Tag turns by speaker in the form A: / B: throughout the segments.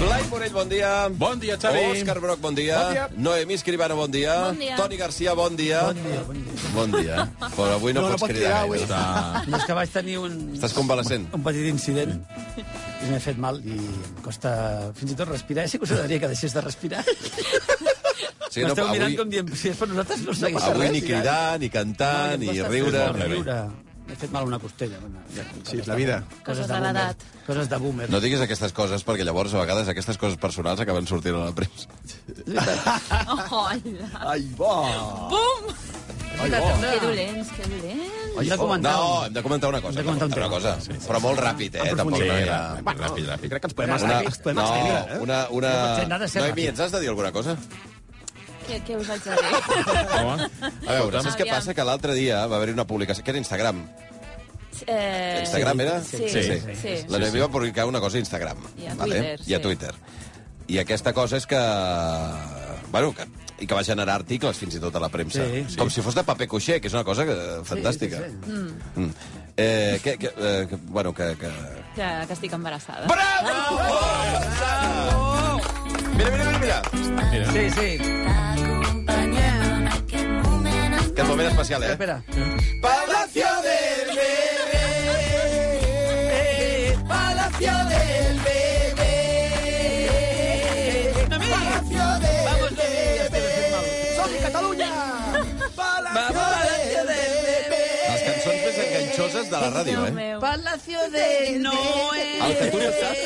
A: Blai Morell, bon dia.
B: Bon dia, Xavi.
A: Òscar Broc, bon dia.
B: Bon dia.
A: Noemí Escribano, bon dia.
C: Bon dia.
A: Toni Garcia, bon dia. Bon dia, bon dia. Bon dia. Però avui no,
D: No, no
A: pots
D: pot
A: cridar eh?
D: cridar avui.
A: gaire.
B: Està...
D: No, és que vaig tenir un,
A: Estàs convalescent.
D: un petit incident i m'he fet mal i em costa fins i tot respirar. Ja sé que us agradaria que deixés de respirar.
A: Sí,
D: Sí, M'esteu
A: avui-
D: mirant com dient, si és per nosaltres no segueix
A: Avui
D: res.
A: ni cridar, ni cantar,
D: eh. No, i em
A: ni
D: costa
A: riure.
D: fer-me riure. M'he fet mal una costella. Bueno, ja,
E: Sí, és la vida.
C: Coses de
D: boomer.
C: l'edat.
D: Coses de boomer.
A: No diguis aquestes coses, perquè llavors, a vegades, aquestes coses personals acaben sortint a la premsa.
C: Hola.
E: Ai, bo!
C: Bum!
E: Ai, bo!
C: Que dolents, que dolents.
D: Hem de comentar...
A: Oh, No, hem de comentar una cosa.
D: Hem de comentar un
A: una
D: tema.
A: cosa. Però molt ràpid, eh?
D: En
A: Tampoc no
D: profunditat.
A: era...
E: Bueno,
B: Ràpid, ràpid.
E: Crec que ens podem
A: Una,
E: estendre. Ens podem
A: no,
E: estendre, eh?
A: una, una...
D: No pot ser, n'ha de ser
A: Noemi,
D: ràpid.
A: ens has de dir alguna cosa?
C: Què, què us haig de dir?
B: Home.
A: A veure, saps què
C: Aviam.
A: passa? Que l'altre dia va haver-hi una publicació, que era Instagram.
C: Eh,
A: Instagram era?
C: Sí,
B: Sí.
C: sí.
B: Sí.
C: sí. sí.
A: La Noemi va publicar una cosa a Instagram.
C: I a
A: vale?
C: Twitter,
A: I a
C: sí.
A: Twitter. I aquesta cosa és que... Bueno, que i que va generar articles fins i tot a la premsa.
D: Sí, sí.
A: Com si fos de paper coixer, que és una cosa que, fantàstica.
D: sí,
A: sí. Mm. Eh, que, que, eh, que, bueno, que... que...
C: Que, que estic embarassada.
A: Bravo! Mira, mira, mira, mira.
B: Mira.
D: Sí, sí.
A: Que moment especial, eh?
D: Espera.
A: Palacio del bebé. Palacio del bebé. Palacio del bebé. Som de Catalunya. Palacio del bebé. Les cançons més enganxoses de la ràdio,
C: Déu
A: eh?
C: meu.
F: Palacio de Noé.
A: El que tu no saps,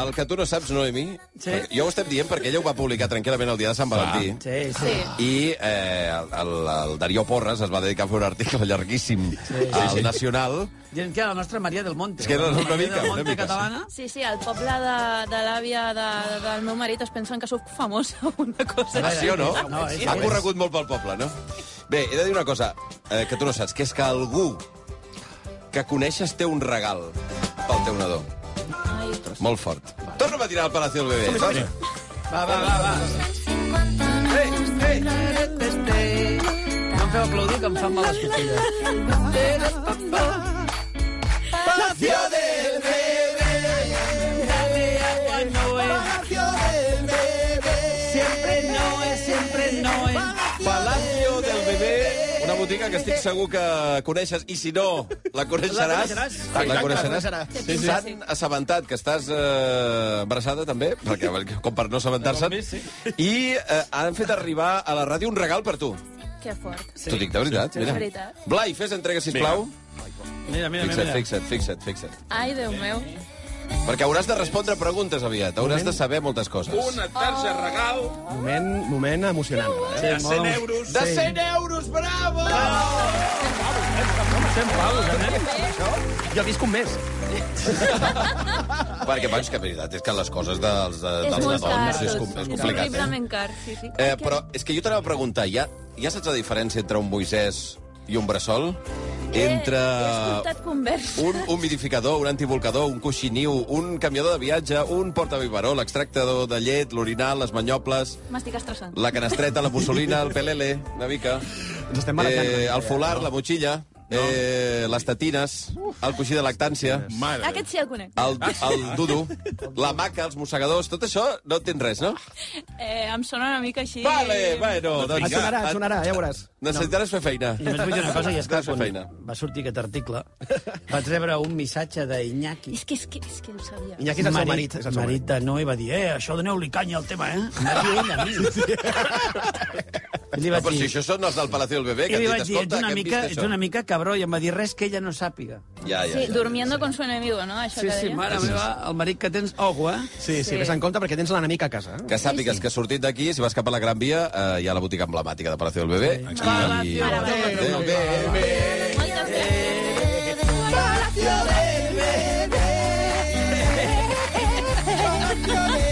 A: el que tu no saps Noemi,
D: Eh. Sí.
A: perquè jo ho estem dient perquè ella ho va publicar tranquil·lament el dia de Sant Valentí.
D: Sí, sí.
C: Sí.
A: I eh, el, el, el Darío Porres es va dedicar a fer un article llarguíssim al Nacional.
D: Dient que era la nostra Maria del Monte.
A: És que era
D: la
A: una
D: Maria
A: mica,
D: del
A: una
D: Monte
A: mica, sí.
D: catalana.
C: Sí, sí, al poble de, de l'àvia de, del meu marit es pensen que sóc famosa o una cosa.
A: Ah, sí o no?
D: No, és-
A: ha corregut molt pel poble, no? Bé, he de dir una cosa eh, que tu no saps, que és que algú que coneixes té un regal pel teu nadó.
C: Ai,
A: Molt fort. Torna'm a tirar al Palacio del Bebé. Torna.
D: Va, va, va, va. Ei, ei. No em feu aplaudir, que em fan mal les costelles.
A: Palacio del Bebé, Palacio del Bebé,
D: Siempre no es, siempre no es.
A: Palacio del Bebé. Una botiga que estic segur que coneixes, i si no, la coneixeràs.
D: La coneixeràs.
A: La coneixeràs.
D: coneixeràs.
A: Sí, sí. S'han assabentat que estàs eh, embarassada, també, perquè, eh, com per no assabentar-se'n, i eh, han fet arribar a la ràdio un regal per tu.
C: que fort.
A: T'ho dic de veritat, mira.
C: De veritat.
A: Blai, fes entrega, sisplau.
D: Mira, mira, mira.
A: Fixa't,
D: mira.
A: fixa't, fixa't, fixa't.
C: Ai, Déu meu.
A: Perquè hauràs de respondre preguntes aviat, hauràs de saber moltes coses.
B: Una tarja regal
A: Oh,
E: Moment, moment emocionant. ara, Eh?
B: de 100 euros.
A: De 100 euros, bravo!
E: Jo visc un mes.
A: Perquè, vaig, que la veritat és que les coses dels, de,
C: És
A: dels
C: molt car,
A: nadons Doncs és, com, és complicat. Eh?
C: horriblement car, sí, sí.
A: Eh, però és que jo t'anava a preguntar, ja, ja saps la diferència entre un Moisès i un bressol? Entre
C: He, he escoltat conversa.
A: un humidificador, un antivolcador, un coixiniu, un canviador de viatge, un portavivaró, l'extractador de llet, l'orinal, les manyobles,
C: M'estic estressant.
A: la canestreta, la mussolina, el pelele, una mica, Eh,
E: Ens estem barallant.
A: el folar, la motxilla, eh, les tatines, el coixí de lactància...
B: Mare.
C: Aquest sí el conec.
A: El, el dudu, la maca, els mossegadors, tot això no tens res, no?
C: Eh, em sona una mica així...
A: Vale, bueno, doncs...
E: Et Ah, sonarà, et sonarà, ja veuràs.
A: Necessitaràs fer feina.
D: I només vull dir una cosa, i és que
A: Necessitaràs fer
D: quan
A: feina.
D: va sortir aquest article, vaig rebre un missatge d'Iñaki.
C: És que, és que, és que ho sabia.
E: Iñaki és el seu marit. És el seu
D: marit
E: marit.
D: de Noé va dir, eh, això doneu-li canya al tema, eh? Em va dir ell a mi. I li
A: No,
D: vaig
A: però si
D: dir,
A: això són els del Palacio del Bebé,
D: i
A: que
D: li
A: han
D: vaig
A: dit,
D: dir ets,
A: escolta,
D: una
A: que hem
D: mica,
A: vist
D: ets
A: això.
D: una mica cabró, i em va dir res que ella no sàpiga.
A: Ja, ja,
C: Sí,
A: ja,
C: durmiendo con su enemigo, no? Això
D: Sí,
C: que
D: sí,
C: deia.
D: mare meva, el marit que tens, ojo, eh?
E: Sí,
C: Sí.
E: sí, vés en compte perquè tens l'enemic a casa. eh?
A: Que sàpigues que sortit d'aquí, si vas cap a la Gran Via, eh, hi ha la botiga emblemàtica de Palacio del Bebé. Sí.
C: Palacio del Bebé.
A: Bé, bé, bé.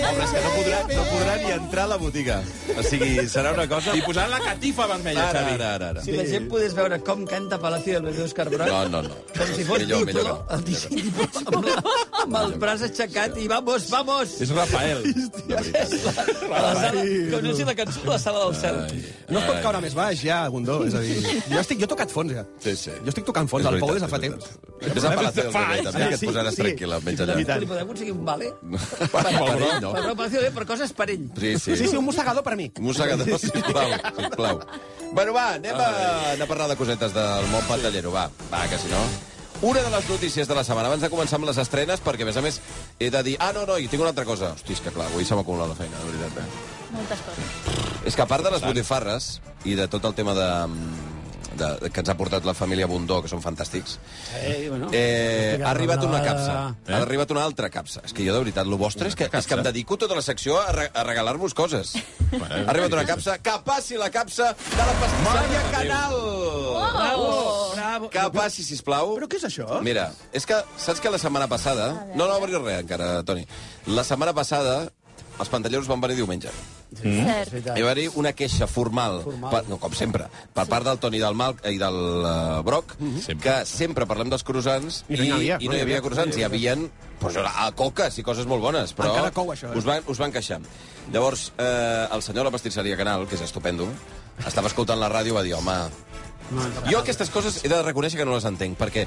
A: podrà ni entrar a la botiga. O sigui, serà una cosa...
B: I posant la catifa vermella,
A: Ara,
B: Xavi.
A: ara, ara. ara.
D: Si la gent podés veure com canta Palacio del Bebé Oscar Brock,
A: No, no, no.
D: com si fos
A: millor, millor
D: Totó,
A: que no.
D: el disseny, amb, la, amb el braç aixecat i vamos, vamos!
B: És Rafael.
A: De veritat.
D: A la sala, com no sé la cançó de la sala del cel.
G: No es pot caure més baix, ja, Gondó. És a dir, jo, estic, jo he tocat fons, ja.
A: Sí, sí.
G: Jo estic tocant fons,
A: És
G: el Pou
A: veritat,
G: des de fa
A: és
G: temps.
A: veritat. Vés a Palacio del Rei, també, que et
G: sí,
A: posaràs
G: sí.
A: tranquil al menys allà.
G: I tant.
D: Li podem aconseguir un vale?
A: Per, per, ell, no.
D: Per, no, Palacio del Bebé, per coses per ell.
A: Sí, sí.
G: Sí, sí, un mossegador per mi.
A: Mossegador, sisplau, sisplau. Bueno, va, anem a, anem a parlar de cosetes del món pantallero, va. Va, que si no... Una de les notícies de la setmana, abans de començar amb les estrenes, perquè, a més a més, he de dir... Ah, no, no, i tinc una altra cosa. Hosti, és que clar, avui se m'ha acumulat la feina, de veritat. Eh?
C: Moltes coses.
A: És que a part de les botifarres i de tot el tema de, de, que ens ha portat la família Bundó, que són fantàstics,
D: Eh, bueno.
A: Eh, ha arribat una
D: vegada.
A: capsa. Eh? Ha arribat una altra capsa. És que jo, de veritat, lo vostre és que, és que em dedico tota la secció a, re a regalar-vos coses. ha arribat una capsa. Que passi la capsa de la pastisseria Canal!
D: Bravo, bravo.
A: Que passi, sisplau.
G: Però què és això?
A: Mira, és que saps que la setmana passada... No, no obris res encara, Toni. La setmana passada els pantalleros van venir diumenge.
C: Cert.
A: Hi va haver una queixa formal, formal. Per, no, com sempre, per part del Toni del Mal i del uh, Broc,
G: Mhm.
A: que sempre parlem dels croissants
G: I no n'hi havia,
A: i no hi havia croissants, hi havien pues, a coques i coses molt bones, però
G: Encara cou, això, eh?
A: us, van, us van queixar. Llavors, eh, el senyor de la pastisseria Canal, que és estupendo, estava escoltant la ràdio i va dir, home, jo aquestes coses he de reconèixer que no les entenc, perquè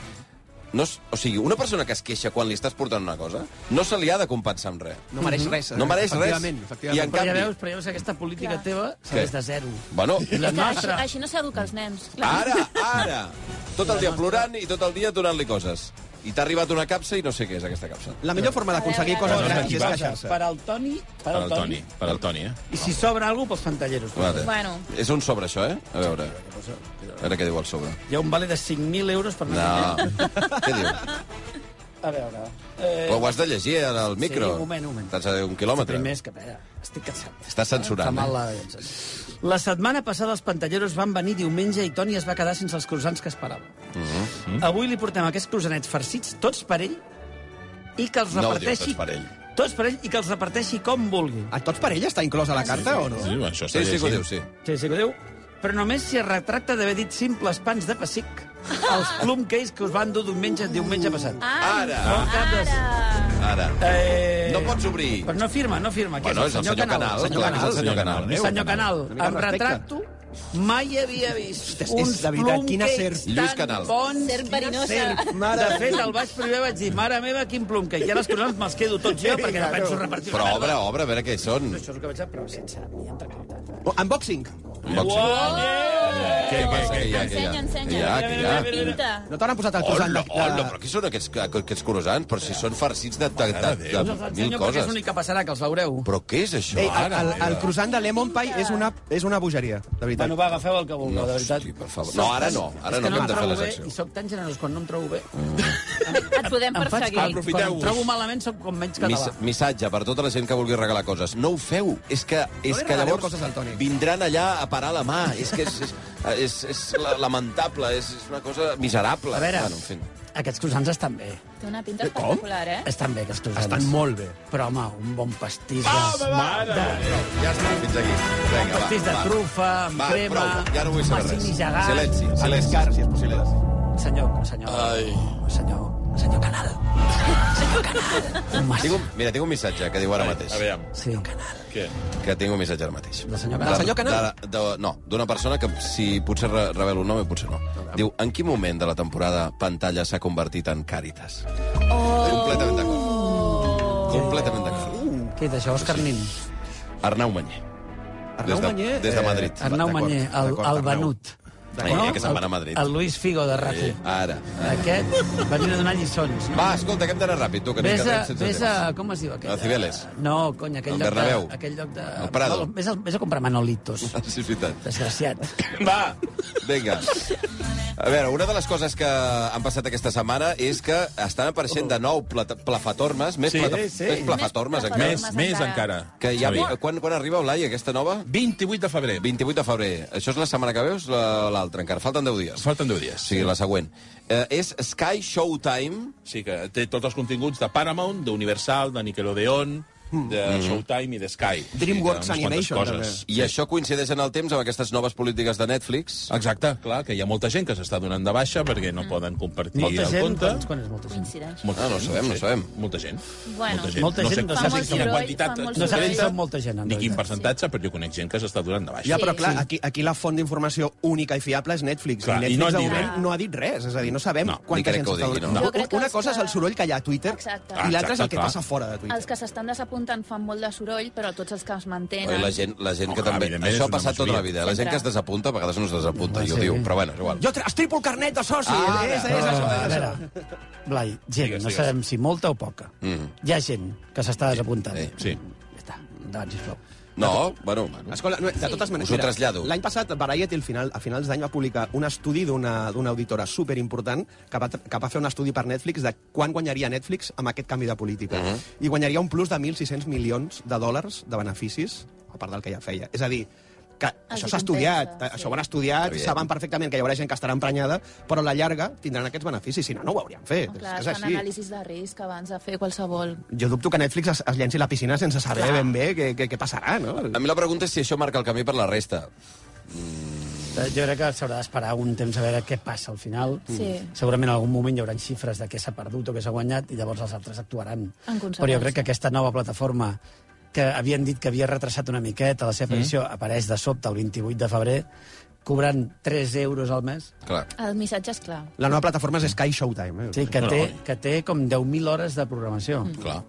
A: no, és- o sigui, una persona que es queixa quan li estàs portant una cosa, no se li ha de compensar amb res.
G: No mereix res. eh?
A: Mm-hmm. No mereix res.
G: Efectivament,
A: I
G: efectivament.
A: en
D: Però ja
A: canvi...
D: veus, però ja veus que aquesta política
C: Clar.
D: teva
A: Què?
D: s'ha de zero.
A: Bueno,
D: La
C: Que així,
D: nostra...
C: així no s'educa els nens.
A: Ara, ara! Tot el dia plorant i tot el dia donant-li coses. I t'ha arribat una capsa i no sé què és aquesta capsa.
G: La millor forma d'aconseguir
C: A veure,
G: coses
A: Doncs
B: a veure.
G: grans és
B: Motivar-se.
G: queixar-se.
D: Per al Toni, per
B: Per
D: al
B: al Toni,
D: Toni.
B: per al Toni, eh?
D: I si sobra alguna cosa, pels pantalleros.
A: Vale.
C: Bueno.
A: És un sobre, això, eh? A veure. A veure què diu el sobre.
D: Hi ha un vale de 5.000 euros per
A: No.
D: anar
A: què diu?
D: A veure... Eh,
A: Ho has de llegir ara al micro.
D: un moment, un moment.
A: T'has de dir un quilòmetre.
D: Primer és que, espera, estic cansat.
A: Està censurant,
D: Fa mal
A: eh?
D: la... La setmana passada els pantalleros van venir diumenge i Toni es va quedar sense els croissants que esperava. Mm
A: Mm-hmm.
D: -hmm. Avui li portem aquests croissanets farcits, tots per ell, i que els
A: No ho diu,
D: reparteixi...
A: tots per ell.
D: Tots per ell i que els reparteixi com vulgui.
G: A tots per ell està inclosa la carta o no?
B: Sí, bueno, això
A: Sí, sí que ho diu, sí.
D: Sí, sí que ho diu. Però només si es retracta d'haver dit simples pans de pessic els plum cakes que us van dur diumenge, diumenge passat.
G: Ah,
A: Ara,
D: No, cap de...
A: ara.
D: Eh...
A: No pots obrir.
D: Però no firma, no firma. que
A: Bueno, és el senyor Canal.
D: Senyor
A: clar que és
D: Canal.
A: el senyor Canal.
D: Senyor, senyor Canal,
G: Una mica
D: em
G: de respecte.
D: retracto. Mai havia vist
G: Ostres,
D: uns
G: és la veritat,
D: plum
G: quina
D: cakes
G: serp.
A: Lluís
D: tan
A: Canal.
D: bons.
C: Serp verinosa.
D: Serp.
G: Mare
D: De fet, el vaig primer vaig dir, mare meva, quin plum cake. I ara els croissants me'ls quedo tots jo perquè no penso repartir
A: Però
D: una merda.
A: obre, obre, a veure què són.
D: Això és el que vaig dir, però sense ni entrecautat.
G: Oh, unboxing.
A: Què passa? Què hi ha? Què hi ha?
C: Ensenya, ensenya.
A: Què hi ha? Què hi ha?
C: Pinta.
G: No t'hauran posat el croissant
A: Hola,
G: de...
A: hola, però què són aquests, aquests croissants? Però si són farcits de, de, de, de,
D: Els
A: mil
D: ensenyo perquè és
A: coses.
D: l'únic que passarà, que els veureu.
A: Però què és això?
G: Ei, el,
A: Ara, eh?
G: el, el
A: meva.
G: croissant de lemon pie és una, és una bogeria, de veritat.
D: Bueno, va, agafeu el que vulgueu,
A: No,
D: de veritat.
A: hosti, per favor. No, ara no, ara
D: És
A: no,
D: que
A: que hem
D: em
A: de fer
D: trobo
A: la
D: bé
A: secció.
D: I soc tan generós, quan no em trobo bé,
C: Et podem
D: em faig
C: perseguir.
D: com, quan em trobo malament sóc com menys
A: Mis,
D: català.
A: missatge per tota la gent que vulgui regalar coses. No ho feu. És que, és
G: li
A: que
G: regaleu
A: llavors
G: coses al Toni.
A: vindran allà a parar la mà. És que és, és, és, és la- lamentable, és, és una cosa miserable.
D: A veure,
A: Bueno, en fi.
D: aquests croissants estan bé.
C: Té una pinta espectacular, eh?
D: Estan bé, aquests croissants.
G: Estan molt bé.
D: Però, home, un bon pastís de... de...
A: Ja està, fins aquí. Vinga, va,
D: Pastís de
A: va.
D: trufa, amb
A: Va,
D: crema...
A: prou, ja no vull saber res.
D: massini gegant.
A: Silenci, silenci.
G: car, si és possible.
D: Senyor, senyor...
A: Ai.
D: Senyor, senyor Canal. Senyor Canal. Un mas...
A: Tinc un, mira, tinc un missatge que diu ara mateix.
B: Aviam,
D: Sí, un canal.
B: què?
A: Que tinc un missatge ara mateix.
D: Del senyor Canal.
A: Del senyor Canal? De, de, no, d'una persona que si potser re, revelo el nom i potser no. Diu, en quin moment de la temporada Pantalla s'ha convertit en Càritas? Oh. Completament d'acord. Completament d'acord.
D: Què és això, Òscar Nin?
A: Arnau Manyer.
G: Arnau
A: des de,
G: Mañé,
A: Des de
G: eh,
A: Madrid.
D: Arnau
G: d'acord,
D: Mañé, el,
G: d'acord,
D: el
G: Arnau.
D: Benut.
A: Ai, que se'n va anar a Madrid. Eh.
D: El, el Luis Figo de rac
A: Ara.
D: Aquest venia a donar lliçons. No?
A: Va, escolta, que hem d'anar ràpid, tu, que ens
D: Ves a,
A: quedem sense
D: ves
A: temps.
D: a... Com es diu aquell?
A: A Cibeles.
D: No, cony, aquell
A: Al
D: lloc
A: Bernabéu.
D: de... Aquell lloc de...
A: Al Prado.
D: Ves a, ves a comprar Manolitos.
A: Sí, és veritat.
D: Desgraciat.
B: Va!
A: Vinga. A veure, una de les coses que han passat aquesta setmana és que estan apareixent de nou plata- plafatormes, més,
B: Sí,
A: plata
B: sí.
A: més plafatormes,
C: Més
A: encara.
B: Més, més encara.
A: Que ja,
B: Xavi.
A: vi- quan, quan arriba, Olai, aquesta nova?
B: 28 de febrer.
A: 28 de febrer. Això és la setmana que veus, l'altra encara. Falten 10 dies.
B: Falten 10 dies.
A: O sigui, la següent. Eh, és Sky Showtime.
B: Sí, que té tots els continguts de Paramount, d'Universal, de Nickelodeon, de
A: Mm.
B: Showtime i de Sky.
G: DreamWorks
B: Sí, que unes quantes
G: Animation,
B: coses.
A: I això coincideix en el temps amb aquestes noves polítiques de Netflix.
B: Exacte, clar, que hi ha molta gent que s'està donant de baixa perquè no poden compartir
D: Mm. Molta
B: el
D: gent, doncs,
B: compte.
D: quan, quan és molta gent?
C: Coincideix.
B: Molta
A: Ah, no ho
B: gent,
A: sabem, no ho
B: sé.
A: sabem.
B: Molta gent.
C: Bueno.
D: Molta gent, no
B: no
D: Fa
B: sé
D: molt
B: quina
D: soroll,
B: quantitat
C: fa molt
D: No saps si
B: concreta,
D: són molta gent,
B: ni
D: en
B: quin
D: realitat.
B: percentatge, però jo conec gent que s'està donant de baixa.
G: Ja, però
C: Sí.
G: clar, aquí, aquí la font d'informació única i fiable és Netflix.
B: Clar,
G: I
B: i no
G: Netflix,
B: han
G: de
B: dit
G: moment,
C: res.
G: no ha dit res. És a dir, no sabem
B: No,
A: ni
G: quanta
A: crec
G: gent
A: que ho
G: s'està
A: digui,
G: donant.
A: no. Ah,
C: Jo crec que
G: Una
C: els
G: cosa és
C: que-
G: el soroll que hi ha a Twitter
C: Exacte.
G: i l'altra és
B: Exacte,
G: el que
B: clar.
G: passa fora de
C: Els
G: Twitter.
C: que s'estan desapuntant fan molt de soroll, però tots els que es mantenen...
A: Oi, la gent, la gent que
B: Home,
A: també...
B: evidentment,
A: Això
B: és
A: ha
B: una
A: passat tota la
B: majoria.
A: vida. La gent que es desapunta, a vegades no es desapunta, i ho diu, però bueno, és igual.
G: Jo tra- estripo el carnet de soci. Ah, és, és, és,
D: a
G: és, és,
D: veure, Ah, Blai, gent,
B: Digues,
D: no
B: digues.
D: sabem si molta o poca.
A: Mhm.
D: Hi ha gent que s'està desapuntant.
A: Sí.
B: Sí.
D: Ja està, endavant, sisplau.
A: No, bueno, bueno.
G: Escolta, no, de totes maneres,
A: Us ho
G: mira,
A: trasllado.
G: l'any passat Variety al final, a finals d'any va publicar un estudi d'una d'una auditora superimportant que va, que va fer un estudi per Netflix de quan guanyaria Netflix amb aquest canvi de política.
A: Mhm.
G: Uh -huh. I guanyaria un plus de 1.600 milions de dòlars de beneficis, a part del que ja feia. És a dir, que
C: Els
G: això
C: hi
G: s'ha estudiat,
C: compensa, Ah, sí.
G: això ho han estudiat,
A: Evident.
G: saben perfectament que hi haurà gent que estarà emprenyada, però a la llarga tindran aquests beneficis, si no, no ho haurien fet.
C: No, clar,
G: és
C: es
G: que és
C: fan
G: així.
C: anàlisis de risc abans de fer qualsevol...
G: Jo dubto que Netflix es, es llenci a la piscina sense saber ben bé què, què, què passarà, no?
A: A mi la pregunta és si això marca el camí per la resta.
D: Eh, Jo crec que s'haurà d'esperar un temps a veure què passa al final. Mm.
C: Sí.
D: Segurament en algun moment hi haurà xifres de què s'ha perdut o què s'ha guanyat i llavors els altres actuaran.
C: conseqüència.
D: Però jo crec que aquesta nova plataforma que havien dit que havia retrasat una miqueta la seva aparició, apareix de sobte el 28 de febrer, cobrant 3 euros al mes,
A: Clar.
C: El missatge és clar.
G: La nova plataforma és Sky Showtime. Eh?
D: sí, que,
B: No,
D: té,
B: no.
D: que té com 10.000 hores de programació.
C: Mm.
B: Clar.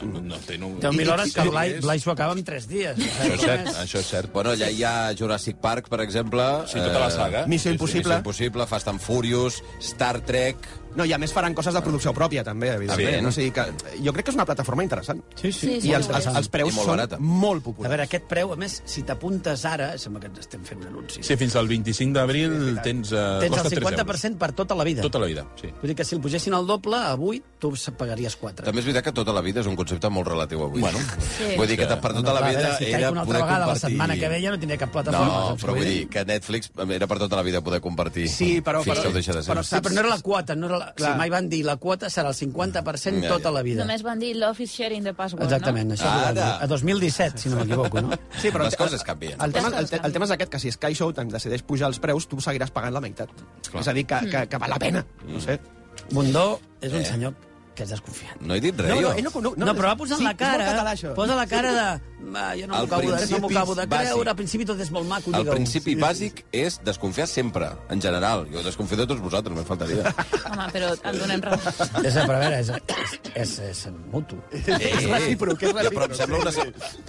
B: No, no té... No...
D: 10.000 hores que
B: Sí,
D: Blai,
B: és-
D: Blai s'ho acaba en 3 dies.
B: Això és cert, això és cert.
A: Bueno, allà hi ha Jurassic Park, per exemple.
B: Sí, tota la
A: eh,
B: saga.
G: Missió
A: Missió
G: impossible.
A: Impossible, Fast and Furious, Star Trek...
G: No, i a més faran coses de producció pròpia, també,
A: Evident.
G: evidentment. O sigui que, eh, jo crec que és una plataforma interessant.
D: Sí,
C: sí.
G: I els, els, els
A: I
G: preus
A: molt
G: són
A: barata.
G: molt
D: A
G: populars.
D: veure, aquest preu, a més, si t'apuntes ara... Sembla que ens estem fent un anunci.
B: Sí, fins al 25 d'abril tens... Eh,
D: Tens
B: costa
D: el
B: 3 euros.
D: 50% per tota la vida.
B: Tota la vida, sí.
D: Vull dir que si el pugessin al doble, avui tu se pagaries 4.
A: També és veritat que tota la vida és un concepte molt relatiu avui. Bueno,
C: Sí.
A: Vull dir que per tota la vida
D: si
A: era
D: caic una altra
A: poder
D: vegada
A: compartir...
D: la setmana que ve ja no tindré cap plataforma.
A: No,
D: saps
A: però
D: què
A: vull dir que Netflix era per tota la vida poder compartir.
G: Sí, però-
A: Fins
G: però-
A: que ho deixa de ser.
G: però
D: Sí, però no era la quota. No era la... Si
G: Clar.
D: mai van dir la quota serà el 50%
A: Ja, ja.
D: tota la vida.
C: Només van dir love is sharing the password,
D: Exactament, això ho van dir.
A: Ara.
D: A 2017, si no m'equivoco, no?
G: Sí, però
A: Les coses canvien.
G: El tema,
C: Les
G: el,
C: coses
G: te- el tema és aquest, que si Sky Showtime decideix pujar els preus, tu seguiràs pagant la meitat. Clar. És a dir, que, que,
C: Mm.
G: que val la pena.
A: Mm.
G: No sé.
D: Bundó és un senyor que és desconfiat.
A: Eh. No he dit res, jo.
G: no,
D: No, però va posant
G: sí,
D: la cara,
G: És molt català, això.
D: posa la cara de... "Ah, jo no m'ho
A: Al
D: acabo, de- no m'ho
A: principi
D: acabo de
A: bàsic.
D: creure, al principi tot és molt maco,
A: El
D: digue-ho.
A: principi bàsic és desconfiar sempre, en general. Jo desconfio de tots vosaltres, me'n faltaria.
C: Home, però et donem raó.
D: És, però a veure, és, és, és, és mutu.
A: és
G: recíproc, és
A: Però em sembla una...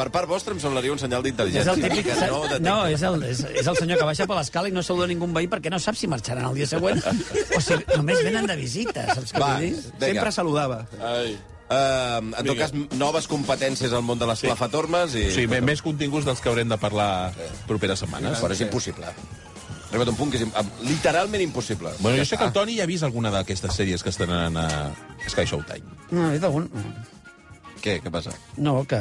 A: Per part vostra em semblaria un senyal
D: És
A: d'intel·ligència.
D: el típic...
A: que No, de...
D: No, és el, és, és el senyor que baixa per l'escala i no saluda ningú veí perquè no sap si marxaran el dia següent o si només venen de visita, saps què
A: Va,
D: vull dir?
A: vinga.
G: Sempre saludava.
A: Ah,
B: Ai.
A: Uh, en tot
B: Vinga.
A: cas, noves competències al món de les clafatormes i...
B: Sí, bé, més continguts dels que haurem de parlar properes setmanes.
A: Però és impossible. Ha Arribat un punt que és im- literalment impossible.
B: Bueno, jo sé que el Toni ja ha vist alguna d'aquestes sèries que estan a Sky Showtime.
D: No, és algun...
A: Ah, Què? Què passa?
D: No, que...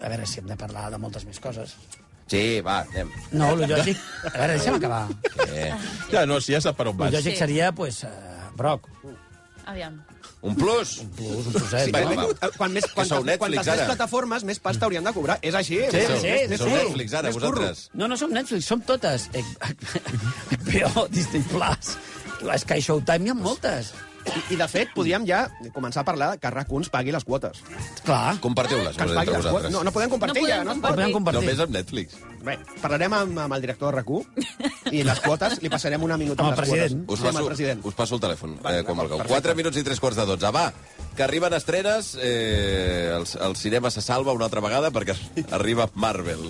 D: A veure, si hem de parlar de moltes més coses.
A: Sí, va, anem.
D: No, el lògic... A veure, deixa'm acabar.
A: Què?
B: Ja, no, si ja sap per on
D: El
B: vas.
D: lògic
C: Sí.
D: seria, doncs, uh, Broc,
C: Aviam.
A: Un plus? Un
D: plus, un pluset,
A: Sí,
D: no?
A: va, va.
G: Eh, Quan més,
A: Que
G: quan,
A: sou Netflix,
G: quantes més
A: ara.
G: plataformes, més pasta haurien de cobrar. És així.
D: Sí,
G: és-
D: sí,
G: és-
D: sí,
G: és
A: Sou
G: curro.
A: Netflix, ara,
G: És curro.
A: vosaltres.
D: No, no som Netflix, som totes. Eh, HBO, Disney Plus, Sky Showtime, n'hi ha moltes.
G: I, I, de fet, podíem ja començar a parlar que RAC1 pagui les quotes.
D: Clar,
A: Compartiu-les
G: Que ens pagui
A: entre
G: les quotes.
A: vosaltres.
G: No, no podem compartir
C: No podem
G: ja, no es pot.
D: ho podem compartir.
A: Només amb Netflix.
G: Bé, parlarem amb, amb el director de RAC1 i les quotes, li passarem una minuta
D: Amb el
G: amb, les
D: president.
G: quotes.
A: Us
G: Sí, amb
A: passo,
G: el president.
A: us passo el telèfon,
G: Vale,
A: eh, quan
G: d'acord,
A: vulgueu.
G: perfecte.
A: 4 minuts i 3 quarts de 12. Va, que arriben estrenes, eh, el, el cinema se salva una altra vegada perquè arriba Marvel.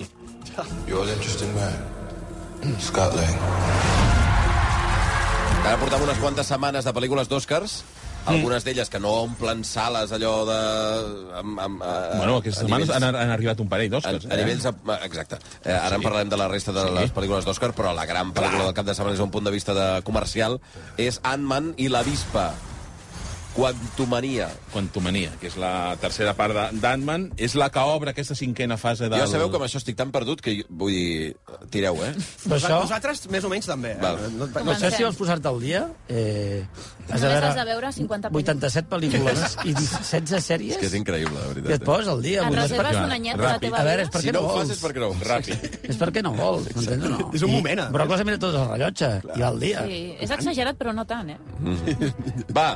H: You're an interesting man, Scott Lang.
A: Ara portava unes quantes setmanes de pel·lícules d'Oscars,
B: Mm.
A: algunes d'elles que no omplen sales allò de... Amb, amb, eh,
B: Bueno, aquestes
A: a
B: setmanes
A: nivells-
B: han, han arribat un parell d'Òscars.
A: A, a nivells... de- Exacte. Eh, ara en parlarem de la resta de les pel·lícules d'Òscar, però la gran pel·lícula del cap de setmana des d'un punt de vista de comercial és Ant-Man i la Vispa. Quantumania.
B: Quantumania, que és la tercera part de- d'Ant-Man, és la que obre aquesta cinquena fase del...
A: Ja sabeu que amb això estic tan perdut que, jo- vull dir, tireu, eh?
D: Però això,
G: Vosaltres, més o menys, també.
A: Val.
G: Eh?
D: no
G: No,
D: sé si
C: Comencem.
D: vols posar-te al dia... Eh, has
C: Només has de veure 50 pel·lícules.
D: 87 pel·lícules i 16 sèries
A: És que és increïble, de
D: i et
A: veritat. eh?
D: poses al dia.
C: Et
D: vull dir, és
C: reserves
D: perquè-
C: un anyet de la
B: Ràpid.
C: teva
D: A
C: vida.
D: veure, és perquè
A: Si no
D: no
A: ho fas
D: vols.
A: és perquè no ho vols.
B: Ràpid.
D: És perquè no vols, m'entens o no?
G: És un moment, eh?
D: I Brock les mira totes al rellotge, i va al dia.
C: Sí, és exagerat, però no tant, eh?
A: Va,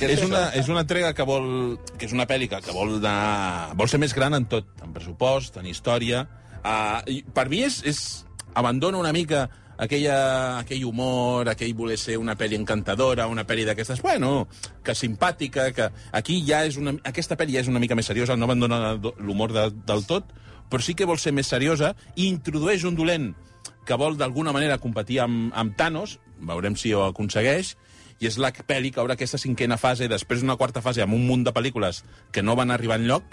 A: què
B: és una, és una entrega que vol... que és una pel·li que, que vol anar... vol ser més gran en tot, en pressupost, en història... Uh, i per mi és, és... abandona una mica aquella, aquell humor, aquell voler ser una pel·li encantadora, una pel·li d'aquestes, bueno, que simpàtica, que aquí ja és una... Aquesta pel·li ja és una mica més seriosa, no abandona do- l'humor de, del tot, però sí que vol ser més seriosa i introdueix un dolent que vol d'alguna manera competir amb, amb Thanos, veurem si ho aconsegueix, i és la pel·li que obre aquesta cinquena fase, després una quarta fase amb un munt de pel·lícules que no van arribar enlloc,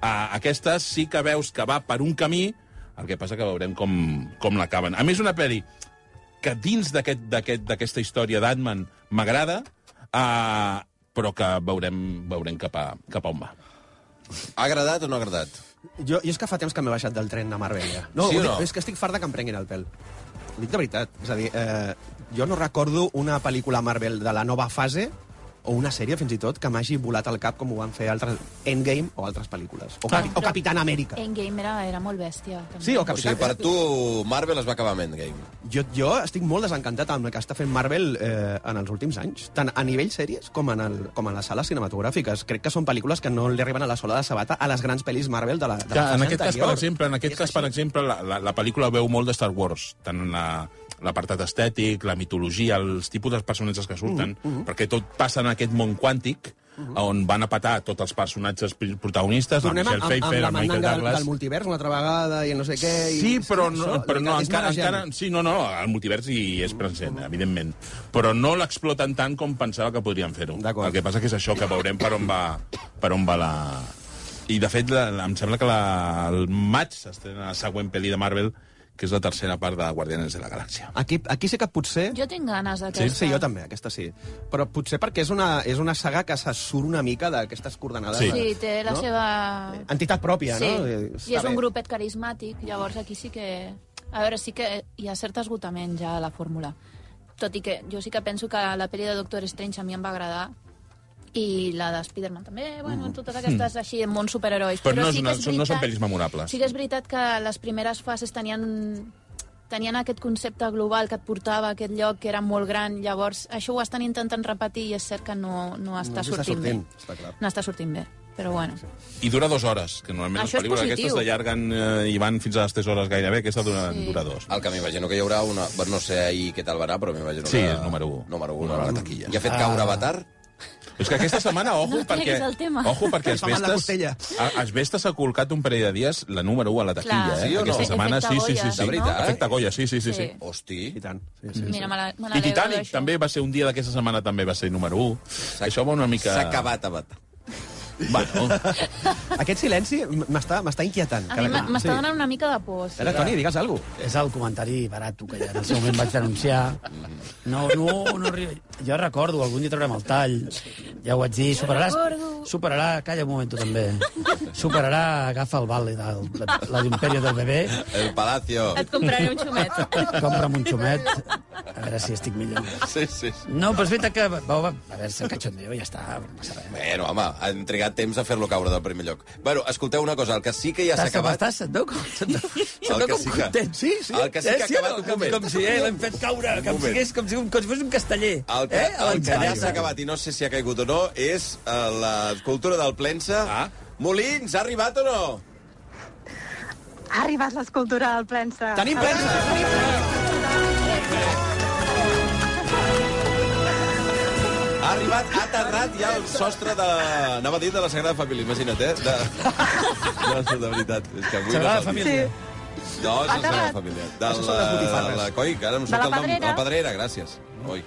B: a aquesta sí que veus que va per un camí, el que passa que veurem com, com l'acaben. A més, una pel·li que dins d'aquest- d'aquest- d'aquesta aquest, història d'Ant-Man m'agrada, uh, però que veurem, veurem cap, a, cap a on va.
A: Ha agradat o no ha agradat?
G: Jo, jo és que fa temps que m'he baixat del tren a Marbella. No,
A: Sí o
G: ho dic-
A: no?
G: És que estic fart de que em prenguin el pèl. Ho dic de veritat. És a dir, eh, jo no recordo una pel·lícula Marvel de la nova fase o una sèrie, fins i tot, que m'hagi volat al cap com ho van fer altres Endgame o altres pel·lícules. O, Capi, o Capitán Amèrica.
C: Ah. Endgame era, era molt bèstia. També.
G: Sí, o
A: O sigui, per
G: Capitán...
A: tu, Marvel es va acabar amb Endgame.
G: Jo, jo estic molt desencantat amb el que està fent Marvel eh, en els últims anys, tant a nivell sèries com en, el, com en les sales cinematogràfiques. Crec que són pel·lícules que no li arriben a la sola de sabata a les grans pel·lis Marvel de la, de
B: Que
G: la fase
B: en aquest cas,
G: anterior.
B: per exemple, en aquest cas, per exemple, la, la, la pel·lícula veu molt de Star Wars, tant en la l'apartat estètic, la mitologia, els tipus dels personatges que surten, mm -hmm. perquè tot passa en aquest món quàntic, mm -hmm. on van a patar tots els personatges pri- protagonistes,
G: Tornem
B: la
G: amb,
B: doncs, Michelle Pfeiffer,
G: amb, amb
B: el
G: la
B: Michael
G: mandanga del,
B: Douglas...
G: del multivers una altra vegada i no sé què... I...
B: Sí, però no,
G: Això,
B: però no
G: és
B: encara,
G: barrejant.
B: encara... Sí, no, no, el multivers hi és present, evidentment. Però no l'exploten tant com pensava que podrien fer-ho.
G: D'acord.
B: El que passa que és això, que veurem per on va, per on va la... I, de fet, la, la- em sembla que la, el maig s'estrena la següent pel·li de Marvel, que és la tercera part de Guardianes de la Galàxia.
G: Aquí, aquí sí que potser...
C: Jo tinc ganes
G: Sí,
C: d'aquesta.
G: sí, jo també, aquesta sí. Però potser perquè és una, és una saga que se surt una mica d'aquestes coordenades.
B: Sí.
C: Sí, té la
G: no?
C: seva...
G: Entitat pròpia,
C: sí,
G: no? Eh,
C: i és
G: està
C: un
G: bé.
C: grupet carismàtic, llavors aquí sí que... A veure, sí que hi ha cert esgotament ja a la fórmula. Tot i que jo sí que penso que la pel·li de Doctor Strange a mi em va agradar i la de Spider-Man també, bueno, totes aquestes així en món superherois.
B: Però, no, és
C: sí que
B: una,
C: és
B: són, no són
C: veritat-
B: pel·lis memorables.
C: Sí que és veritat que les primeres fases tenien tenien aquest concepte global que et portava a aquest lloc que era molt gran, llavors això ho estan intentant repetir i és cert que no, no està
G: No s'està
C: sortint,
G: sortint,
C: bé.
G: està clar.
C: No està sortint bé, però bueno.
B: I dura dues hores, que normalment
C: Això és
B: les pel·lícules
C: positiu.
B: aquestes s'allarguen eh, i van fins a les tres hores gairebé, aquesta dura, sí. dura dos.
A: El que m'imagino que hi haurà una... bueno, No sé ahir què tal va anar, però m'imagino
B: Sí,
A: que...
B: és número u.
A: Número 1.
B: Número u Ah. a la taquilla.
A: I ha fet caure Avatar?
B: És que aquesta setmana, ojo,
C: No treguis
B: perquè...
C: el tema.
B: Ojo, perquè es
G: Fa mal la
B: vestes...
G: costella.
B: a- Es vestes ha colcat un parell de dies la número 1 a la taquilla,
C: Clar.
B: eh?
A: Sí o no?
B: Aquesta
A: Efecte
B: setmana, sí, sí, sí,
C: Goya,
B: sí.
A: De veritat?
B: Efecte Goya, sí, sí, sí. sí.
C: Sí.
A: Hosti.
G: I tant. Sí, sí,
C: Mira, me la- me
B: I
C: n'alegro
B: Titanic
C: d'això.
B: també va ser un dia d'aquesta setmana, també va ser número 1. Això va una mica...
A: S'ha acabat Avatar.
B: Bueno,
G: sí. Aquest silenci m- m'està m'està inquietant.
C: A
G: cada
C: mi m'a-
G: cop.
C: m'està donant una mica de por.
G: Espera, Toni, digues alguna cosa.
D: És el comentari barat que ja en el seu moment vaig denunciar. No, no, no arriba. Jo recordo, algun dia traurem el tall. Ja ho vaig dir, superaràs...
C: recordo.
D: Superarà... Calla un moment, tu també. Superarà... Agafa el vale de la, la d'Imperio del bebè,
A: El Palacio.
C: Et compraré un xumet.
D: compra'm un xumet, a veure si estic millor.
A: Sí, sí.
D: No, però és veritat que... Va, va, a veure, si el cachondeo ja està, no passa res.
A: Bueno, home, han trigat temps a fer-lo caure del primer lloc. Bueno, escolteu una cosa, el que sí que ja s'ha
D: Tassa,
A: acabat...
D: tassa, no? Com, se't veu- se't
A: El
D: veu
A: que
D: com
A: sí que-
D: content. Sí, sí.
A: el que sí que ha
D: Eh, o
A: acabat un
D: Com,
A: moment.
D: com si eh, l'hem fet caure,
A: Un
D: com si,
A: moment.
D: hagués- com, si, com, si fos un casteller.
A: El que,
D: eh?
A: el que ja
D: L'encallassa.
A: s'ha acabat i no sé si ha caigut o no és eh, la cultura del plensa.
B: Ah.
A: Molins, ha arribat o no?
I: Ha arribat l'escultura del plensa.
G: Tenim plens...
A: Ha arribat, ha aterrat ja el sostre de... Anava a dir de la Sagrada Família, imagina't, eh? De... No, de veritat. És que avui
D: Sagrada
A: no és el dia. No,
D: Família.
A: és la Sagrada
I: Aterrat.
A: Família. De
G: Això són les
A: la,
G: botifarres.
A: la coi, que ara em
I: De
A: surt
I: la
A: el nom.
I: Pedrera.
A: La Pedrera, gràcies. Oi.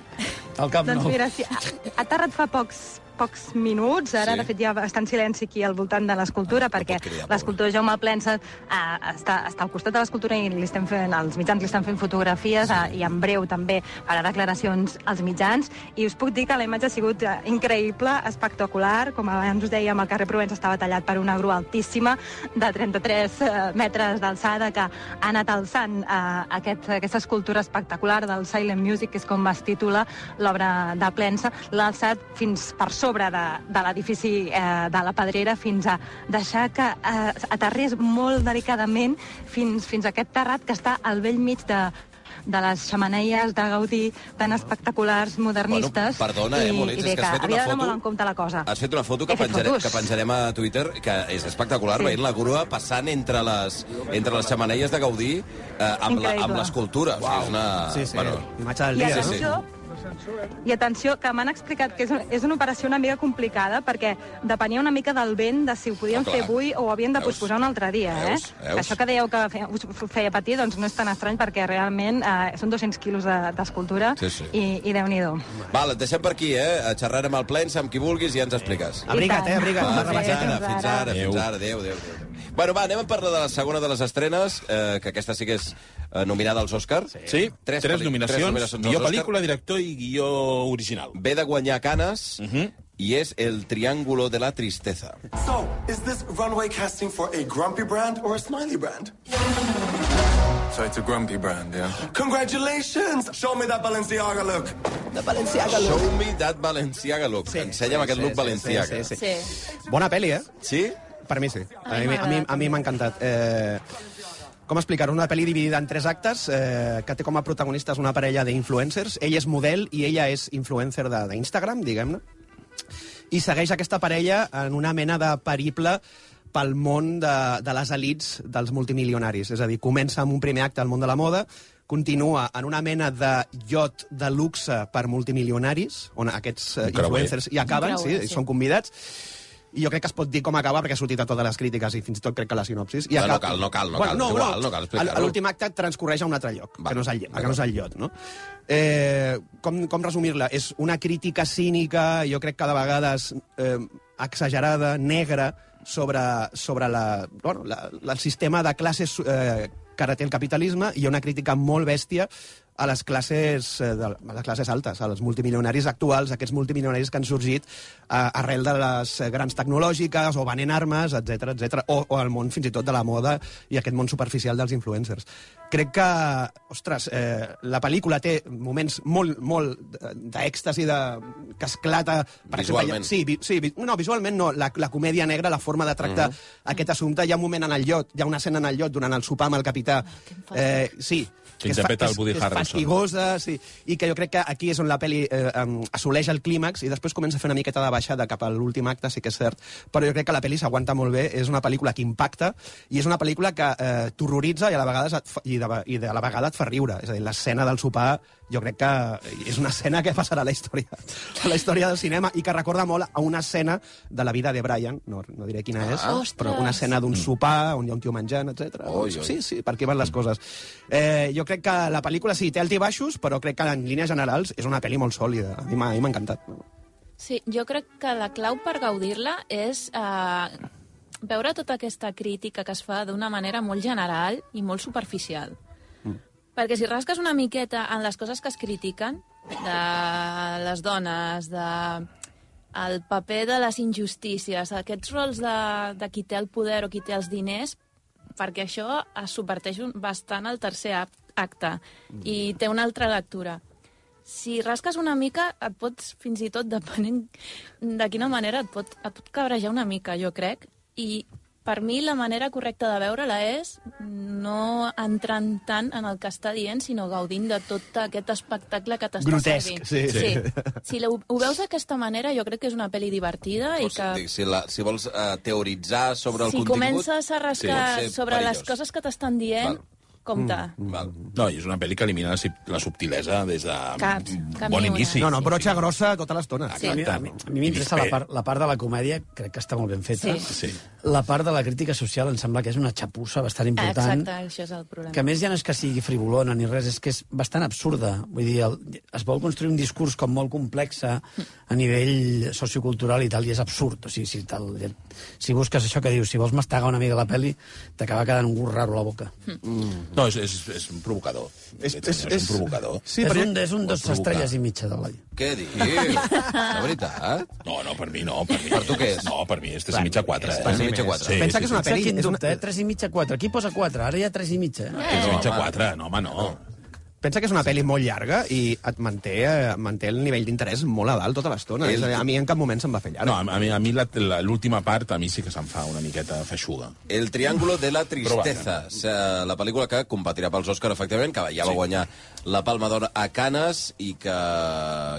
D: Al cap
I: Doncs
D: nou.
I: mira, sí, ha, ha aterrat fa pocs, pocs minuts.
A: Sí. Ah,
I: Ara, sí. de fet, ja està en silenci aquí al voltant de l'escultura,
A: pot
I: perquè
A: cridar, pobre.
I: l'escultor Jaume Plensa eh, està, està al costat de l'escultura i li estem fent, els mitjans li estan fent fotografies eh, i en breu també farà declaracions als mitjans. I us puc dir que la imatge ha sigut eh, increïble, espectacular. Com abans us dèiem, el carrer Provença estava tallat per una grua altíssima de 33 eh, metres d'alçada que ha anat alçant eh, aquest, aquesta escultura espectacular del Silent Music, que és com es titula l'obra de Plensa, l'ha alçat fins per sobre de, de l'edifici eh, de la Pedrera fins a deixar que eh, aterrés molt delicadament fins, fins a aquest terrat que està al vell mig de, de les xamaneies de Gaudí tan espectaculars, modernistes...
A: Bueno, perdona, eh, Molins,
I: i bé,
A: és que has fet
I: havia
A: una
I: d'anar
A: foto-
I: molt en compte la cosa.
A: Has fet una foto que,
I: He fet
A: penjarem,
I: fotos.
A: que penjarem a Twitter, que és espectacular,
I: Sí.
A: veient la grua passant entre les, entre les xamanelles de Gaudí eh, amb la- amb
I: Increïble.
A: l'escultura. O sigui, és una...
G: Sí, sí,
A: Ah, Bueno,
G: imatge del
I: I
G: dia,
A: sí,
G: no?
A: sí.
I: atenció, i atenció, que m'han explicat que és, un- és una operació una mica complicada perquè depenia una mica del vent de si ho podien
A: Ah, clar.
I: fer avui o ho havien de
A: Veus?
I: posposar un altre dia.
A: Veus?
I: eh?
A: Veus?
I: Això que dèieu que feia, us f- feia patir doncs no és tan estrany perquè realment eh, són 200 quilos de- d'escultura
A: Sí, sí.
I: i, i Déu-n'hi-do.
A: Val, et deixem per aquí, eh? Xerrant amb el Plensa, amb qui vulguis, i ja ens expliques.
G: Abriga't, eh, abriga't.
A: Va,
G: Bona
A: fins
G: rebaixeta.
A: ara, fins ara, fins ara. Adéu, adéu, adéu. Bueno, va, anem a parlar de la segona de les estrenes, eh, que aquesta sí que és eh, nominada als Oscars.
B: Sí, tres, tres
A: pel·li-
B: nominacions, tres nominacions
A: als
B: guió
A: Oscar.
B: pel·lícula, director i guió original.
A: Ve de guanyar Canes
B: Mhm.
A: i és el Triángulo de la Tristeza.
H: So, is this runway casting for a grumpy brand or a smiley brand? So it's a grumpy brand, yeah? Congratulations! Show me that Balenciaga look.
A: Show me that Balenciaga look. Sí, Ensenya'm aquest look Balenciaga.
G: Sí, sí, sí.
C: Sí.
G: Bona pel·li, eh?
A: Sí?
G: Per mi sí.
C: A
G: A
C: mi
G: mi, a mi, a mi m'ha encantat. Eh, com explicar una pel·li dividida en tres actes eh, que té com a protagonistes una parella d'influencers. Ell és model i ella és influencer de- d'Instagram, diguem-ne. I segueix aquesta parella en una mena de periple pel món de, de les elites dels multimilionaris. És a dir, comença amb un primer acte al món de la moda, continua en una mena de iot de luxe per multimilionaris, on aquests eh,
B: Un creuer.
G: influencers hi acaben,
C: creuer, sí.
G: sí, sí, són convidats, i jo crec que es pot dir com acaba perquè ha sortit a totes les crítiques i fins i tot crec que a la sinopsis. I
A: Ah, no
G: acaba-
A: cal, no cal, no cal, és igual, no cal explicar-ho.
G: A l'últim acte transcorreix a un altre lloc,
A: Va,
G: que no és el, lle- que
A: d'acord.
G: no és el llot, no? Eh, com com resumir-la? És una crítica cínica, jo crec que de vegades eh, exagerada, negra, sobre, sobre la, bueno, la, la, el sistema de classes eh, que ara té el capitalisme i una crítica molt bèstia a les classes, eh, de, a les classes altes, als multimilionaris actuals, aquests multimilionaris que han sorgit eh, arrel de les eh, grans tecnològiques o venent armes, etc etc o, o el món fins i tot de la moda i aquest món superficial dels influencers. Crec que, ostres, eh, la pel·lícula té moments molt, molt eh, d'èxtasi, de, que esclata...
A: Visualment.
G: Exemple, sí, vi, sí, vi, no, visualment no, la, la comèdia negra, la forma de tractar aquest assumpte, hi ha un moment en el llot, hi ha una escena en el llot durant el sopar amb el capità. Eh, sí,
B: Que interpreta el Woody
G: que és
B: Harrelson.
G: fastigosa, sí, i que jo crec que aquí és on la pel·li eh, em, assoleix el clímax i després comença a fer una miqueta de baixada cap a l'últim acte, sí que és cert, però jo crec que la pel·li s'aguanta molt bé, és una pel·lícula que impacta i és una pel·lícula que eh, t'horroritza i, a la vegada et fa, i, de, ve- i de la vegada et fa riure. És a dir, l'escena del sopar jo crec que és una escena que passarà a la història, a la història del cinema i que recorda molt a una escena de la vida de Brian, no, no diré quina és,
C: Ostres.
G: però una escena d'un sopar on hi ha un tio menjant, etc.
A: Ah. Oi, oi.
G: Sí, sí, per què van les coses. Eh, jo crec que la pel·lícula sí, té altibaixos, però crec que en línies generals és una pel·li molt sòlida. A mi m'ha a mi m'ha encantat.
C: Sí, jo crec que la clau per gaudir-la és eh, veure tota aquesta crítica que es fa d'una manera molt general i molt superficial. Mm. Perquè si rasques una miqueta en les coses que es critiquen, de les dones, de el paper de les injustícies, aquests rols de, de qui té el poder o qui té els diners, perquè això es subverteix un- bastant al tercer act- acte i té una altra lectura si rasques una mica, et pots, fins i tot, depenent de quina manera, et pot, et pot cabrejar una mica, jo crec. I per mi la manera correcta de veure-la és no entrant tant en el que està dient, sinó gaudint de tot aquest espectacle que t'està
G: Grotesc,
C: servint.
G: sí.
C: sí. Si la- ho veus d'aquesta manera, jo crec que és una pel·li divertida i
A: Vols,
C: que
A: dic, si, la, si vols uh, teoritzar sobre el
C: si
A: contingut...
C: comences a rascar
A: pot ser
C: sobre
A: perillós.
C: les coses que t'estan dient,
A: Val.
C: Compte.
B: Val. No, i és una pel·li que elimina la, sub- la subtilesa des de
C: Cap, cap
B: bon
C: ni una.
B: inici.
G: No, no, broxa grossa tota l'estona.
C: Sí.
D: A mi- A mi a mi m'interessa la, part, la part de la comèdia, crec que està molt ben feta.
B: Sí. Sí.
D: La part de la crítica social em sembla que és una xapussa bastant important.
C: Ah, Exacte, això és el problema.
D: Que a més ja no és que sigui frivolona ni res, és que és bastant absurda. Vull dir, el, es vol construir un discurs com molt complex a nivell sociocultural i tal, i és absurd. O sigui, si, tal, si busques això que dius, si vols mastegar una mica la pel·li, t'acaba quedant un gust raro a la boca.
B: No, és, és, és un provocador. És, és, és, un provocador.
D: Sí, és, un, és un
B: Vol
D: dos
B: provocar.
D: estrelles i mitja de l'oi.
A: Què dius? De veritat?
B: No, no, per mi no. Per, mi,
A: Per tu què és?
B: No, per mi és 3 i mitja 4. Eh?
A: Per mi mitja quatre.
B: Sí,
G: Pensa
B: sí,
G: que és una
B: sí.
D: Saps
G: pel·li...
D: quin
G: És una,
D: dubte, eh? 3 i mitja, 4. Aquí posa 4, ara hi ha 3 i mitja. Eh?
B: Tres i mitja
A: home.
B: 4, no, home, no.
G: Pensa que és una pel·li molt llarga i et manté, eh, manté el nivell d'interès molt a dalt tota l'estona.
A: És-
G: És a dir, A mi en cap moment se'm va fer
B: No,
G: llarg.
B: a mi, a mi la- la- l'última part a mi sí que se'm fa una miqueta feixuga.
A: El Triángulo de la Tristeza,
B: Però
A: eh, la pel·lícula que competirà pels Oscars, efectivament, que ja va
B: Sí.
A: guanyar la Palma d'Or a Canes i que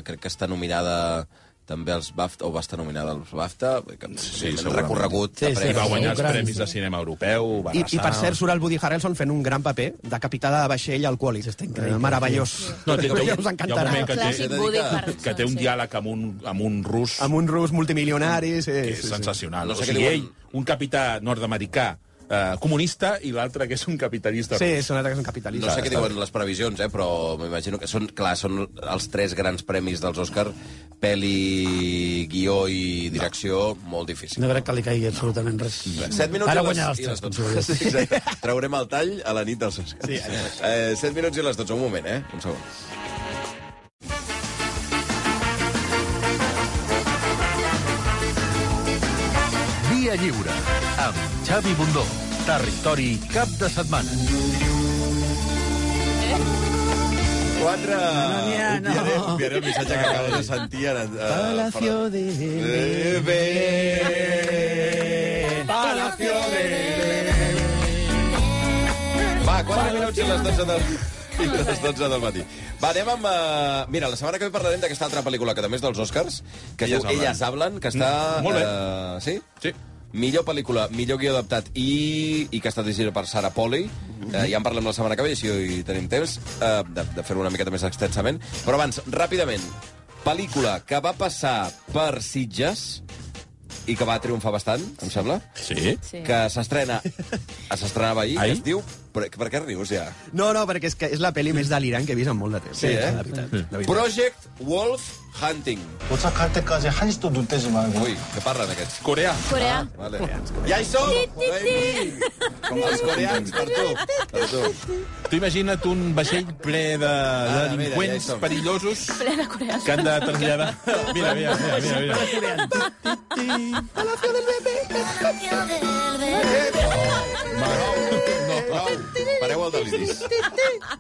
A: crec que està nominada també als BAFTA, o va estar nominada als BAFTA, que sí,
B: segurament.
A: recorregut.
D: Sí,
A: de
D: sí,
A: premis.
B: I va guanyar els
D: gran,
B: premis de cinema europeu, va
G: I, I per
B: arrasar.
G: cert surt el Woody Harrelson fent un gran paper de capità de vaixell alcohòlic.
D: Està increïble.
G: Eh, Meravellós.
B: No, té, té,
G: ja
B: un-
G: us
B: hi ha un
G: encantarà.
B: moment que té,
C: Clàssic Woody Harrelson,
B: que té un
C: sí.
B: diàleg amb un, amb un rus
G: Amb un rus multimilionari... Sí,
B: que és
G: sí, sí.
B: sensacional.
A: No sé
B: o
A: què
B: sigui, ell,
A: diuen.
B: un capità nord-americà eh, comunista i l'altre que és un capitalista
G: Sí,
B: rus.
G: són atacs en capitalisme.
A: No sé què diuen les previsions, eh, però m'imagino que són, clar, són els tres grans premis dels Oscar, pel·li, guió i direcció, molt difícil.
D: No crec que li caigui absolutament res.
A: 7 minuts i
D: Ara
A: les,
D: guanyarà els
A: i les
D: tres, com
A: 12.
D: si volies.
A: Sí, exacte. Traurem el tall a la nit dels Oscars. Sí, eh, 7 minuts i les 12. Un moment, eh? Un segon.
J: Via Lliure, amb Xavi Bundó. Territori cap de setmana.
A: 4... No
D: n'hi ha, no.
A: Obviaré, obviaré el missatge que acabo de sentir ara. eh,
D: Palacio de...
A: Belén. Palacio de Belén. Va, 4 minuts i les 12 del... I les 12 del matí. Va, anem amb... Uh... Mira, la setmana que ve parlarem d'aquesta altra pel·lícula, que també és dels Oscars, que
B: Elles
A: Elles, diu,
B: hablen.
A: Elles hablen, que està...
B: Mm, molt bé.
A: Uh, sí?
B: Sí.
A: Millor pel·lícula, millor guió adaptat i, i que està dirigida per Sara Poli.
B: Mhm.
A: Eh, ja en parlem la setmana que ve, així hi tenim temps eh, de, de fer-ho una miqueta més extensament. Però abans, ràpidament, pel·lícula que va passar per Sitges i que va triomfar bastant, em sembla,
B: Sí.
C: Sí.
A: que s'estrena, s'estrenava ahir,
B: Ahir?
A: ahir, es diu... Per, per què rius, ja?
G: No, no, perquè és, que és la pel·li més delirant que he vist en molt de temps.
A: Sí, eh?
G: La veritat. La veritat.
A: Project Wolf Hunting.
J: 도착할 때까지 한시도 눈 떼지 말고.
A: Ui, què parlen aquests?
B: Coreà.
C: Corea.
A: Vale. Ja hi som! Baby! Com els coreans, per tu. Per tu.
B: Tu imagina't un vaixell ple de
A: Ah, mira, ja hi
B: delinqüents
A: som.
B: perillosos
C: Ple de Corea.
B: que han de traslladar... Mira, mira, mira, mira. mira.
A: No, prou. Pareu el deliris.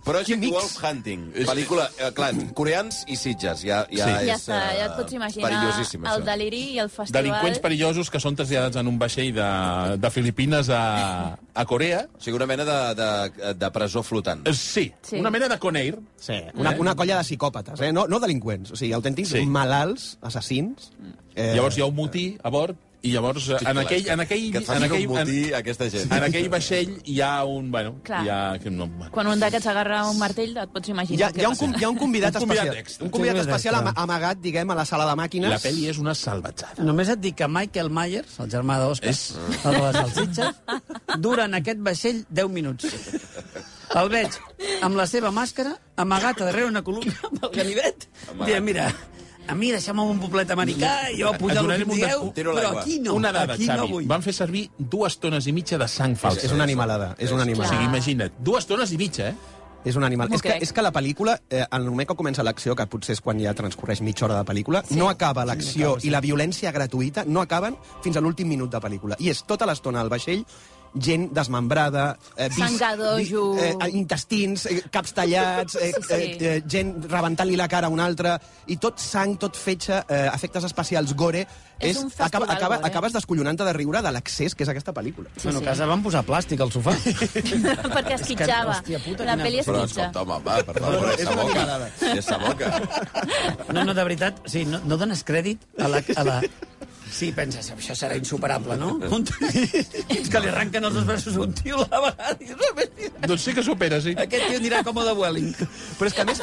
A: Project Wolf Hunting. Pel·lícula, eh, clar, coreans i sitges. Ja, ja,
B: Sí.
C: Ja
A: Ah, és,
C: està, ja et pots
A: eh,
C: imaginar
A: Perillosíssim,
C: el
A: això.
C: deliri i el festival.
B: Delinqüents perillosos que són traslladats en un vaixell de, de Filipines a, a Corea.
A: O sigui, una mena de, de, de presó flotant.
B: Eh, Sí,
C: Sí.
B: sí. una mena de Conair.
G: Sí, una, una colla de psicòpates, eh? no, no delinqüents, o sigui, autèntics
B: Sí.
G: sí. malalts, assassins... Eh,
B: Llavors hi ha un motí a bord i llavors eh, en aquell... En aquell,
A: Que
B: en
A: et facin
B: aquell,
A: un botí
B: en,
A: a aquesta gent.
B: en aquell vaixell hi ha un... Bueno,
C: Clar.
B: hi ha... que No, bueno.
C: Quan un d'aquests agarra un martell, et pots imaginar
G: hi ha,
C: què
G: hi ha, un,
C: passa.
G: com- hi ha un convidat
B: Un convidat
G: especial,
B: extra.
G: un convidat
D: Sí,
G: especial ama
D: exacte.
G: amagat, diguem, a la sala de màquines.
B: La pel·li és una salvatjada.
D: Només et dic que Michael Myers, el germà d'Òscar,
B: És-
D: el de les salsitxes, dura en aquest vaixell 10 minuts. El veig amb la seva màscara, amagat a darrere una columna amb el ganivet,
A: Amagat.
D: dient, mira, a mi deixa'm un poblet americà, jo a
B: Et
D: pujar el que
B: donarem
D: em
B: un
D: digueu,
A: tiro a
D: però
A: l'aigua.
D: aquí no,
B: una dada,
D: aquí
B: Xavi.
D: no vull.
B: Van fer servir dues tones i mitja de sang falsa.
G: És una animalada, és una
B: O
G: animalada.
B: sigui, imagina't, dues tones i mitja, eh?
G: És un animal.
C: M'ho
G: És que,
C: crec.
G: és que la pel·lícula, eh, en el moment que comença l'acció, que potser és quan ja transcorreix mitja hora de pel·lícula, sí. no acaba l'acció sí, i la violència gratuïta no acaben fins a l'últim minut de pel·lícula. I és tota l'estona al vaixell gent desmembrada, eh, vis-
C: Sang a dojo.
G: vi- eh, intestins, eh, caps tallats, eh,
C: Sí, sí.
G: eh, eh, gent rebentant-li la cara a un altre, i tot sang, tot fetge, eh, efectes especials, gore...
C: És un festival
G: acaba, acaba,
C: gore.
G: acabes descollonant-te de riure de l'accés que és aquesta pel·lícula.
C: Sí,
D: Bueno,
C: sí.
D: a casa van posar plàstic al sofà.
C: Perquè esquitxava.
D: hòstia puta,
C: La
D: quina-
C: pel·li
A: Però,
C: esquitxa.
A: escolta, Doncs home, va, per favor, és sa boca. És sa boca.
D: No, no, de veritat, o sigui, no, no dones crèdit a la... A la Sí, penses, això serà insuperable, no? Un tio- És que li arrenquen els dos braços a un tio a la vegada. i dius, "Home, mira,
B: Doncs sí que s'opera, sí.
D: Aquest tio anirà com a de Welling.
G: Però és que a més...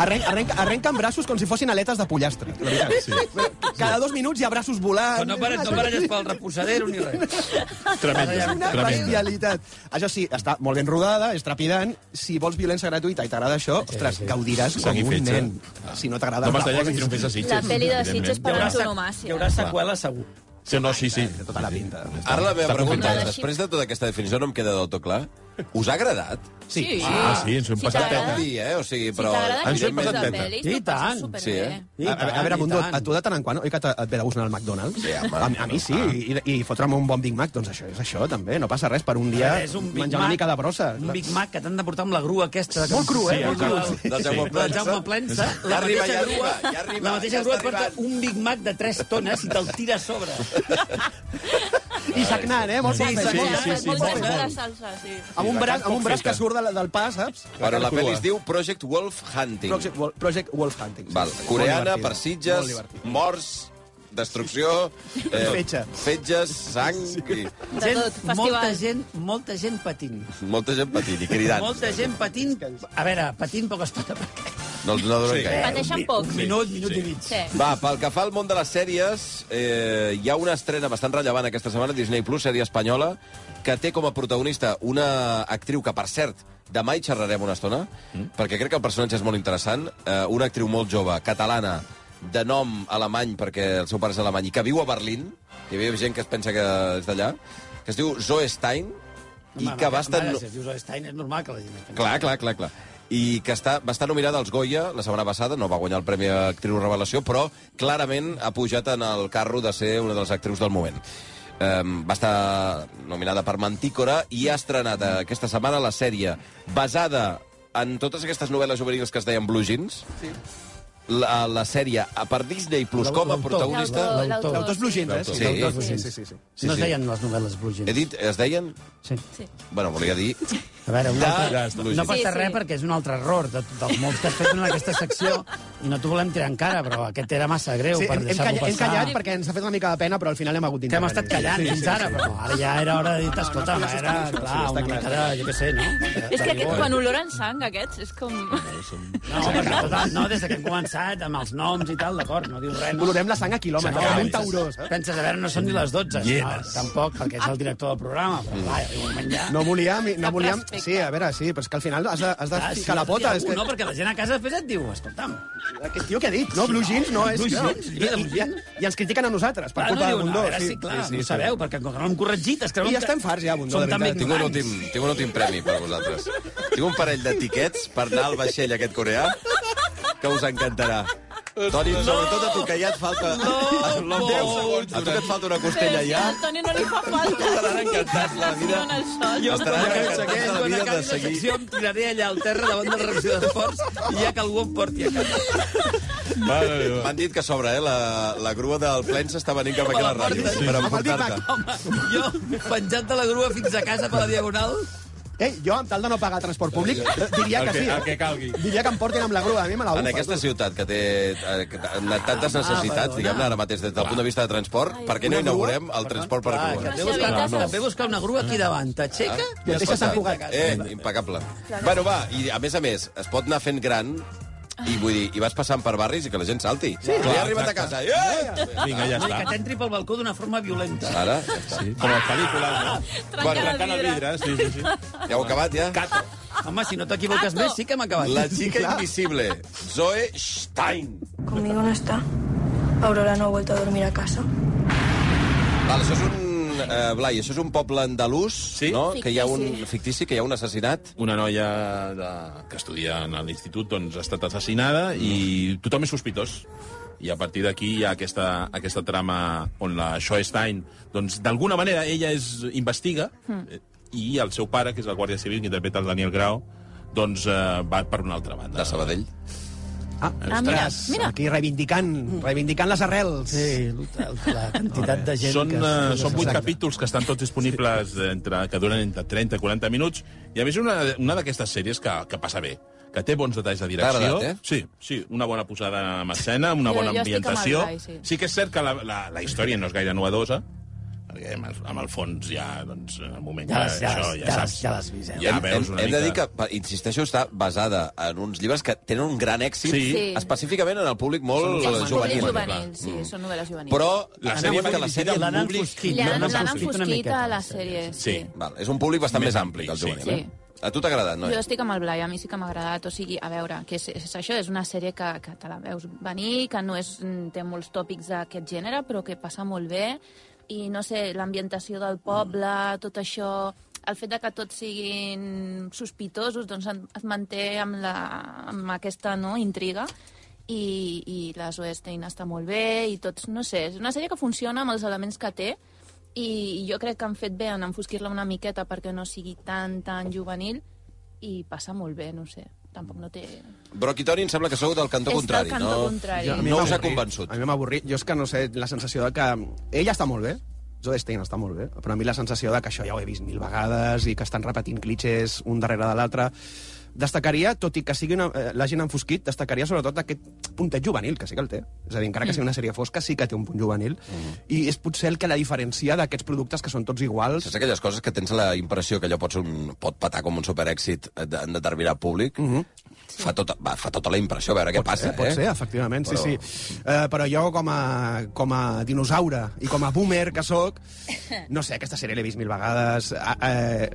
G: Arrenca, arrenca, arrenca amb braços com si fossin aletes de pollastre. La veritat. Sí. Cada dos minuts hi ha braços volant.
D: Però no pares, no baralles pel reposadero ni res.
B: Tremendo,
G: Una
B: tremendo.
G: bestialitat. Això sí, està molt ben rodada, és trepidant. Si vols violència gratuïta i t'agrada això, ostres, gaudiràs com
B: Seguir
G: un
B: fetge.
G: nen. Si no t'agrada...
B: No
G: la
B: m'estranya que
G: posis.
B: triomfés a Sitges.
C: La peli de Sitges per
B: evidentment.
D: Hi
C: antonomàsia.
D: haurà seqüela, segur.
B: Sí, no, sí, sí.
G: Té tota la pinta.
A: Ara la meva
B: Està
A: pregunta és,
B: confirmada.
A: després de tota aquesta definició no em queda del tot clar. Us ha agradat?
G: Sí.
B: Ah, sí, ens ho hem
C: Si
B: passat
C: t'agrada-
B: teta.
A: Dir, eh? O sigui,
C: Si
A: però...
C: t'agrada
B: Ens ho hem
C: aquest tipus
B: passat
C: de
B: teta.
C: pel·lis,
D: Sí,
C: t'ho passes
D: tant.
C: superbé.
A: Sí, eh?
D: I
G: A, a, a veure,
D: i
G: Mundó,
D: tant.
G: a tu de tant en quant, oi que te- et ve de gust anar al McDonald's?
A: Sí, home,
G: a, a mi sí, i, i i fotre'm un bon Big Mac, doncs això és això, també. No passa res per un dia
D: És un Big
G: menjar
D: Mac,
G: una mica de brossa.
D: Un Big Mac que t'han de portar amb la grua aquesta.
G: Molt cru, eh? Molt cru.
D: Sí,
A: Del
D: sí.
A: Jaume
D: Del
A: Plensa.
D: Jaume Plensa.
A: Ja
D: La
A: arriba,
D: mateixa
A: ja
D: grua,
A: arriba, ja arriba,
D: la
A: ja
D: mateixa
A: està
D: grua et porta
A: arribant.
D: un Big Mac de 3 tones i te'l tira a sobre.
G: I sagnant, eh? Molt
D: Sí,
G: maco,
D: sí,
G: molt
D: sí,
G: maco.
D: sí,
C: Molt
D: sí,
C: bona
D: sí.
C: la salsa, sí.
G: Amb un
A: la
G: braç, amb un braç
A: feta.
G: que surt del, del pas, saps?
A: Però la
B: crua.
A: pel·li es diu Project Wolf Hunting.
G: Project, Wol- Project Wolf Hunting. sí.
A: Val,
G: Molt
A: coreana,
G: divertida,
A: per Sitges,
G: molt divertida.
A: morts, destrucció... eh,
G: Fetge.
A: Fetges, sang... I...
C: De tot, festival.
D: molta gent, molta gent patint.
A: Molta gent patint i cridant.
D: Molta gent patint. A veure, patint poca estona. perquè-
A: No, no donen
B: Sí.
A: gaire.
C: Pateixen poc.
D: Un minut, minut i mig.
C: Sí.
A: Va, pel que fa al món de les sèries, eh, hi ha una estrena bastant rellevant aquesta setmana, Disney Plus, sèrie espanyola, que té com a protagonista una actriu que, per cert, demà hi xerrarem una estona, mm. perquè crec que el personatge és molt interessant, eh, una actriu molt jove, catalana, de nom alemany, perquè el seu pare és alemany, i que viu a Berlín, hi havia gent que es pensa que és d'allà, que es diu Zoe Stein, i
D: Home,
A: que
D: ma-
A: va estar...
D: mare, Si es dius Einstein, és normal que la gent... es pensi.
A: Clar, clar, clar, clar. I que està, va estar nominada als Goya la setmana passada, no va guanyar el Premi a Actriu Revelació, però clarament ha pujat en el carro de ser una de les actrius del moment. Um, va estar nominada per Mantícora i ha estrenat eh, aquesta setmana la sèrie basada en totes aquestes novel·les juvenils que es deien Blue Jeans. Sí. La, la sèrie eh, per Disney Plus com a
D: L'autor.
A: protagonista...
C: L'autor.
D: L'autor.
G: Autors blugins, eh?
A: Sí.
G: Autors blugins. Sí, sí, sí.
A: Sí,
D: No es
A: sí.
D: deien les novel·les Blue Jeans.
A: He dit, es deien?
D: Sí.
A: Bueno, volia dir...
D: A veure, un
A: Ja,
D: altre...
A: ja està.
D: no passa
C: Sí, sí.
D: res perquè és un altre error de, dels molts que has fet en aquesta secció i no t'ho volem tirar encara, però aquest era massa greu
G: Sí,
D: per
G: hem, hem,
D: deixar-ho
G: callat, hem
D: passar.
G: callat perquè ens ha fet una mica de pena, però al final hem hagut
D: Que hem estat
G: d'intervenir.
D: callant fins ara, però ara ja era hora de dir, escolta,
G: Ah, no, no,
D: era,
G: sí, sí,
D: clar,
G: sí,
D: una
G: està
D: mica de,
G: clar.
D: jo què sé, no? De-
C: És
D: de
C: que aquest,
D: rigor.
C: quan oloren sang, aquests, és com...
D: No, perquè, total, no, des que hem començat, amb els noms i tal, d'acord, no dius res. No.
G: Olorem la sang a quilòmetres,
D: No,
G: com un
D: penses-
G: tauró, saps?
D: Penses, a veure, no són ni les 12. No, tampoc, perquè és el director del programa,
G: Mm.
D: però clar, un moment ja...
G: No volíem, no
C: Cap
G: volíem...
C: respecte.
G: Sí, a veure, sí, però és que al final has de, has de
D: Clar,
G: ficar la
D: Ah, no,
G: pota.
D: algú,
G: És que,
D: No, perquè la gent a casa després et diu, escolta'm,
G: Aquest tio que ha dit, no, Blue Jeans no és...
D: Blue
G: no.
D: Jeans, llibre de Blue
G: I, i, I ens critiquen a nosaltres, per
D: Clar, no
G: culpa de
D: diuen,
G: Bundó.
D: a veure, sí, clar, sí, sí, ho sabeu, perquè com que no hem corregit... Es creuen
G: I
D: que-
G: estem farts ja, Bundó,
D: Som
G: de
D: tan
G: veritat.
A: Tinc un,
D: ignorants.
A: últim, tinc un últim premi per vosaltres. Tinc un parell de tiquets per anar al vaixell aquest coreà que us encantarà. Toni, sobretot a tu, que ja et falta... No, no, a tu que et falta una costella
C: Si
A: ja.
C: al Toni no li fa falta.
A: Estaran encantats la vida.
C: Estaran al sol.
D: Jo
A: Estaran
D: quan
A: encantats
D: acabi
A: la vida de
D: aquesta
A: seguir.
D: secció em tiraré allà al terra davant de la reacció d'esports i ja que algú em porti a casa.
B: Mare meva.
A: M'han dit que s'obre, eh? La, la grua del plen s'està venint cap aquí a la ràdio
D: Sí.
A: per
G: Amb el Big Mac.
A: emportar-te.
D: Home, jo penjat de la grua fins a casa per la Diagonal.
G: Ei, Eh, jo, amb tal de no pagar transport públic, eh, diria
B: El
G: que
B: que,
G: sí.
B: el que
G: eh?
B: calgui.
G: Diria que em portin amb la grua, a mi me la
A: En
G: bufa.
A: aquesta ciutat que té eh, que t- tantes necessitats,
D: perdona.
A: diguem-ne, ara mateix, des del punt de vista de transport, per què no
G: Una grua?
A: inaugurem el transport per
D: Clar, que
A: grua?
D: et ve
C: Una
D: buscar,
C: ciutat.
D: no. et ve buscar una grua aquí davant, t'aixeca...
G: I et deixa Sant Cugat.
A: Eh, impecable. Bueno, va, i a més a més, es pot anar fent gran i vull dir, i vas passant per barris i que la gent salti. Sí, clar, he arribat a casa. Eh!
B: Vinga, ja
D: Que
B: està.
D: t'entri pel balcó d'una forma violenta.
A: Ara, ja està.
B: Sí. Com a pel·lícula, no?
C: Trencar el
B: Trencant el
C: vidre.
B: vidre, sí, sí, sí.
A: Ja heu acabat, ja? Cato.
D: Home, si no t'equivoques més, sí que hem acabat.
A: La xica invisible, Zoe Stein.
K: Conmigo no está. Aurora no ha vuelto a dormir a casa.
A: Val, això és un... Eh, Blai, això és un poble andalús,
B: Sí.
A: no? Que hi ha un
C: Fictici.
A: fictici, que hi ha un assassinat.
B: Una noia de... que estudia en l'institut doncs, ha estat assassinada i tothom és sospitós. I a partir d'aquí hi ha aquesta, aquesta trama on la Schoenstein, doncs, d'alguna manera, ella és, investiga mm. i el seu pare, que és el guàrdia civil, que interpreta el Daniel Grau, doncs eh, va per una altra banda.
A: De Sabadell.
G: Ah,
C: Ah, mira, mira. Mm.
G: Aquí reivindicant, reivindicant les arrels.
D: Sí, la, la quantitat de gent
B: Són,
D: que...
B: eh, són vuit
D: Exacte.
B: capítols que estan tots disponibles entre, que duren entre 30 i 40 minuts i a més una, una d'aquestes sèries que, que passa bé que té bons detalls de direcció.
A: T'ha agradat, eh?
B: Sí, sí, una bona posada en escena, una
C: Jo-
B: bona
C: jo estic amb el
B: ambientació.
C: Blai, sí.
B: sí que és cert que la, la, la història no és gaire novedosa, perquè amb el, amb el fons ja, doncs, en el moment
D: Ja
B: ja,
D: l'has- ja
B: això, ja,
D: l'has- ja l'has-
B: saps.
D: ja l'has vist, eh?
B: Ja
A: hem,
B: veus
A: hem,
B: una
A: hem de
B: mica.
A: dir que, pa- insisteixo, està basada en uns llibres que tenen un gran èxit,
B: Sí.
C: Sí.
A: específicament en el públic
B: Són
A: molt
B: novel·les
A: juvenil.
B: juvenils.
C: juvenil, sí, són novel·les juvenils.
A: Però
B: La
A: la
B: sèrie
A: sèrie, que la sèrie
D: L'han
A: el públic...
D: enfosquit.
C: L'han
D: l'han
C: l'han
D: enfosquit una
C: enfosquit a
D: miqueta,
C: la
D: sí.
C: sèrie, sí.
B: Sí.
A: Val, és un públic bastant
B: Més
A: més ampli que el
B: ampli,
A: juvenil.
C: sí.
A: Eh? A tu t'ha agradat,
C: Jo
A: no?
C: estic amb el Blai, a mi sí que m'ha agradat. O sigui, a veure, que és, és això, és una sèrie que, que te la veus venir, que no és, mm, té molts tòpics d'aquest gènere, però que passa molt bé. I, no sé, l'ambientació del poble, tot això... El fet de que tots siguin sospitosos doncs en- et manté amb, la, amb aquesta no, intriga i, i la Zoe Stein està molt bé i tots, no sé, és una sèrie que funciona amb els elements que té i jo crec que han fet bé en enfosquir-la una miqueta perquè no sigui tan, tan juvenil i passa molt bé, no sé. Tampoc no té...
A: Brock i Toni, em sembla que sou del cantó
C: És del
A: contrari,
C: cantó
A: no?
C: contrari. Jo- a
G: mi
A: no us ha
G: m'avorrit.
A: convençut.
G: A mi m'ha avorrit. Jo és que no sé, la sensació de que... Ella està molt bé, Zoe Stein està molt bé, però a mi la sensació de que això ja ho he vist mil vegades i que estan repetint clichés un darrere de l'altre... Destacaria, tot i que sigui una, eh, la gent enfosquit, destacaria sobretot aquest puntet juvenil, que sí que el té. És a dir,
C: Mm.
G: encara que sigui una sèrie fosca, sí que té un punt juvenil.
A: Mm.
G: I és potser el que la diferencia d'aquests productes que són tots iguals.
A: Saps aquelles coses que tens la impressió que allò pot, ser un, pot patar com un superèxit eh, de- en determinat públic? Mm
B: Mhm.
A: -hmm. fa, tota, va, fa tota la impressió, a veure què
G: pot
A: passa,
G: ser, pot
A: eh?
G: ser, efectivament,
A: Però-
G: sí, sí. Eh, però jo, com a, com a dinosaure i com a boomer que sóc, no sé, aquesta sèrie l'he vist mil vegades. A, eh,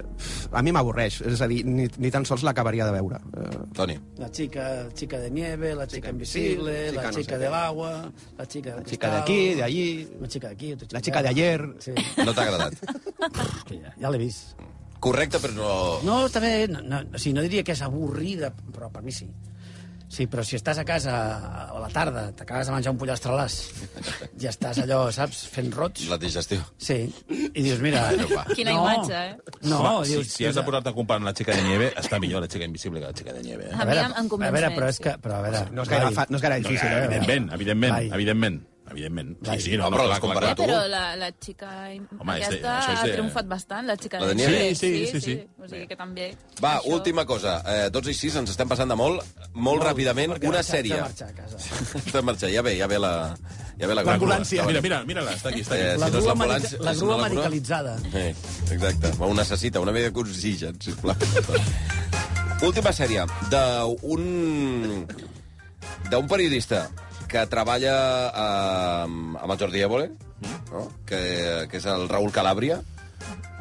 G: a mi m'avorreix, és a dir, ni, ni tan sols l'acabaria de veure. Eh,
A: Toni,
D: La chica, chica de nieve, la chica
G: invisible,
D: invisible,
G: chica
D: la
G: no sé
D: chica
G: qué.
D: del agua, la chica del
G: la xica
D: cristal,
G: d'aquí, d'allí...
D: Una chica d'aquí, otra
G: La chica d'ayer.
D: Sí,
A: no t'ha agradat.
D: que ja, ja l'he vist.
A: Correcte, però no...
D: No, també, no, no, o sigui, no diria que és avorrida, però per mi sí. Sí, però si estàs a casa a la tarda, t'acabes de menjar un pollastre i ja estàs allò, saps, fent roig...
A: La digestió.
D: Sí, i dius, mira...
C: Quina imatge, eh?
D: No,
B: Home, si,
D: dius...
B: si has de posar-te a comparar amb la xica de nieve, està millor la xica invisible que la xica de nieve. Eh?
C: A mi em, em
D: a
C: convenç
D: veure,
C: més,
D: però és
C: sí.
D: que... Però a veure,
G: No és gaire,
D: Blai,
G: fa, no és gaire difícil,
B: eh,
G: eh?
B: evidentment, evidentment,
D: Blai.
B: evidentment, evidentment. Sí, sí, no,
A: No, però
B: clar,
A: l'has
B: clar,
A: comparat
C: Ja,
B: clar.
A: tu.
C: però la, la xica Home,
B: Home, és de-
C: aquesta
B: això és
C: ha
B: de-
C: triomfat bastant, la xica
A: La de
C: de
A: Nieve?
C: Nieves.
B: Sí, sí, sí, sí.
C: O sigui que també...
A: Va, última cosa. Eh, 12 i 6, ens estem passant de molt, molt, ràpidament.
D: perquè
A: Una
D: marxa-
A: sèrie.
D: marxa a casa.
A: Està en marxa, ja ve, ja ve la... Ja ve la
G: L'ambulància.
B: Mira,
A: grua.
B: mira, mira-la, està aquí, està
A: Eh,
B: aquí.
D: La
A: si no és
D: grua,
A: l'ambulància,
D: america, la
A: si no
D: grua
A: la grua.
D: americanitzada.
A: Eh, exacte. Va, un necessita una mica d'oxigen, sisplau. Última sèrie d'un d'un periodista que treballa eh, amb el Jordi Évole, no? que, que és el Raül Calàbria,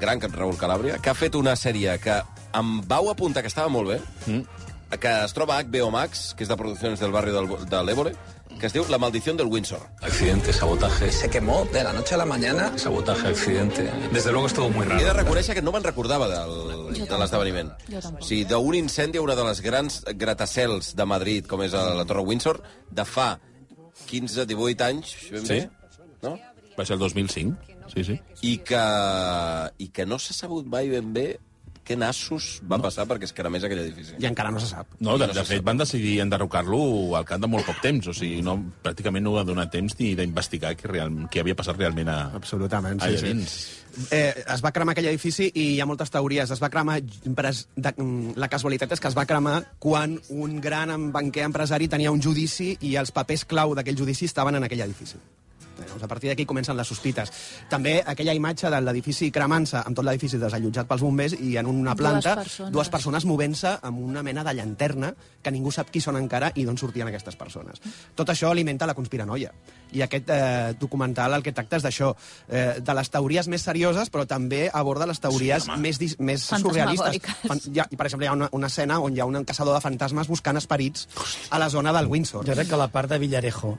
A: gran cap Raül Calàbria, que ha fet una sèrie que em vau apuntar que estava molt bé, mm. que es troba a HBO Max, que és de produccions del barri del, de l'Évole, que es diu La maldició del Windsor.
L: Accidente, sabotaje. Se quemó de la noche a la mañana. Sabotaje, accidente. Desde luego estuvo muy
A: He de
L: raro.
A: reconèixer que no me'n recordava del, de l'esdeveniment.
C: Jo tampoc.
A: O sigui, d'un incendi a una de les grans gratacels de Madrid, com és la Torre Windsor, de fa 15-18 anys, ben
B: Sí.
A: bé, no?
B: Va ser el 2005. Eh. Sí, sí.
A: I que, I que no s'ha sabut mai ben bé què nassos va passar perquè es cremés aquell edifici.
G: I encara no se sap.
B: No, de, de fet, van decidir enderrocar-lo al cap de molt poc temps. O sigui, no, pràcticament no va donar temps ni d'investigar què, real, què havia passat realment a...
G: Absolutament,
B: Allà
G: sí,
B: dins.
G: sí. Eh, es va cremar aquell edifici i hi ha moltes teories. Es va cremar... pres- De, mm, la casualitat és que es va cremar quan un gran em- banquer empresari tenia un judici i els papers clau d'aquell judici estaven en aquell edifici. Llavors, a partir d'aquí comencen les sospites. També aquella imatge de l'edifici cremant-se, amb tot l'edifici desallotjat pels bombers, i en una
C: Dues
G: planta,
C: persones.
G: dues persones movent-se amb una mena de llanterna que ningú sap qui són encara i d'on sortien aquestes persones. Tot això alimenta la conspiranoia. I aquest eh, documental el que tracta és d'això, eh, de les teories més serioses, però també aborda les teories
B: Sí,
G: sí,
B: home.
G: més, dis- més surrealistes.
C: Fantasmagòriques.
G: hi ha, per exemple, hi ha una, una escena on hi ha un caçador de fantasmes buscant esperits a la zona del Windsor. Ah,
D: Jo crec que la part de Villarejo,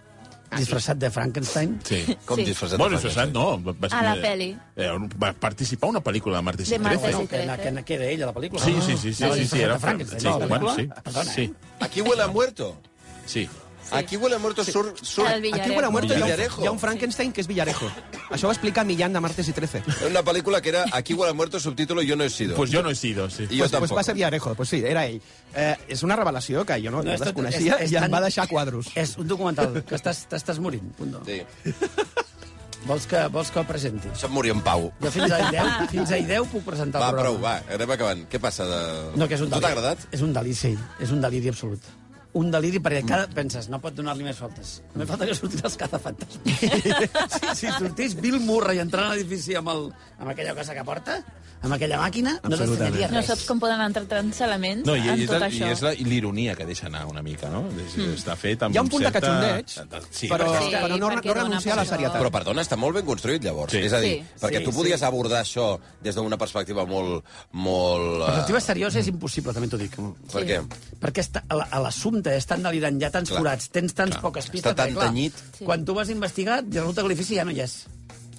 D: disfressat de Frankenstein,
B: Sí.
A: Com
C: Sí.
A: disfressat?
B: Bueno, disfressat, no. Va, va,
C: A la
B: eh,
C: peli.
B: Eh, va participar a una pel·lícula de Martí
C: De Martí
B: Citrece.
C: Citrece.
D: que, na- que, na- que era ella, la pel·lícula.
B: Sí, sí, sí, sí,
D: Anava
B: sí, sí,
D: disfressat de
B: era
D: Frankenstein,
B: Sí,
D: no, la
B: bueno, sí,
D: pel·lícula. Perdona,
B: sí,
A: Aquí huele a muerto.
B: sí.
A: Aquí huele a muerto surt... surt
C: El Villarejo.
G: Aquí a Muerto hi ha,
A: Villarejo.
G: un, hi ha un Frankenstein que és Villarejo. Això ho explica Millán de Martes i 13.
A: una pel·lícula que era Aquí huele a muerto, subtítulo Yo no he sido.
B: Pues jo no he sido, sí.
A: I jo
G: pues,
A: tampoc.
G: pues va ser Villarejo, pues sí, era ell. Eh, és una revelació que jo no, no
D: és tot-
G: desconeixia
D: és- és
G: i em
D: tan-
G: va deixar quadros.
D: És un documental que estàs, t'estàs morint, punt.
A: Sí.
D: Vols que, vols que el presenti?
A: Se'm morir en pau.
D: Jo fins a 10, fins a 10 puc presentar
A: Va,
D: el
A: prou,
D: programa.
A: va, anem acabant. Què passa? De...
D: No, que és un
A: tu
D: deliri.
A: t'ha agradat?
D: És un deliri, sí. És un deliri absolut. Un deliri perquè cada... Penses, no pot donar-li més faltes. Només falta que surtin els cazafantasmes. si, si sortís Bill Murray entrant a l'edifici amb, el, amb aquella cosa que porta, amb aquella màquina, no t'estranyaria
C: No
D: res.
C: saps com poden entrar tants elements
B: No, i,
C: en
B: i, és,
C: tot
B: la, i
C: això.
B: és la ironia que deixa anar una mica, no? És, mm. Està fet amb
G: Hi ha un punt de
B: certa...
G: cachondeig,
B: Sí,
G: però-
B: perquè-
G: Sí, però no- perquè no dona renunciar a la
C: posició.
G: serietat.
A: Però, perdona, està molt ben construït, llavors.
B: Sí.
A: És a dir,
C: Sí.
A: perquè
D: Sí,
A: tu podies abordar això des d'una perspectiva molt... molt
D: La perspectiva
A: eh,
D: seriosa és impossible, també t'ho dic.
A: per
C: Sí.
A: què?
D: Perquè està- l- a l'assumpte és tan delirant, hi ha tants
A: Clar.
D: clar, forats, tens tants clar. poques pistes.
A: Està tan
D: perquè, clar,
A: tenyit.
C: Sí.
D: Quan tu vas a investigar, resulta que l'edifici ja no hi és.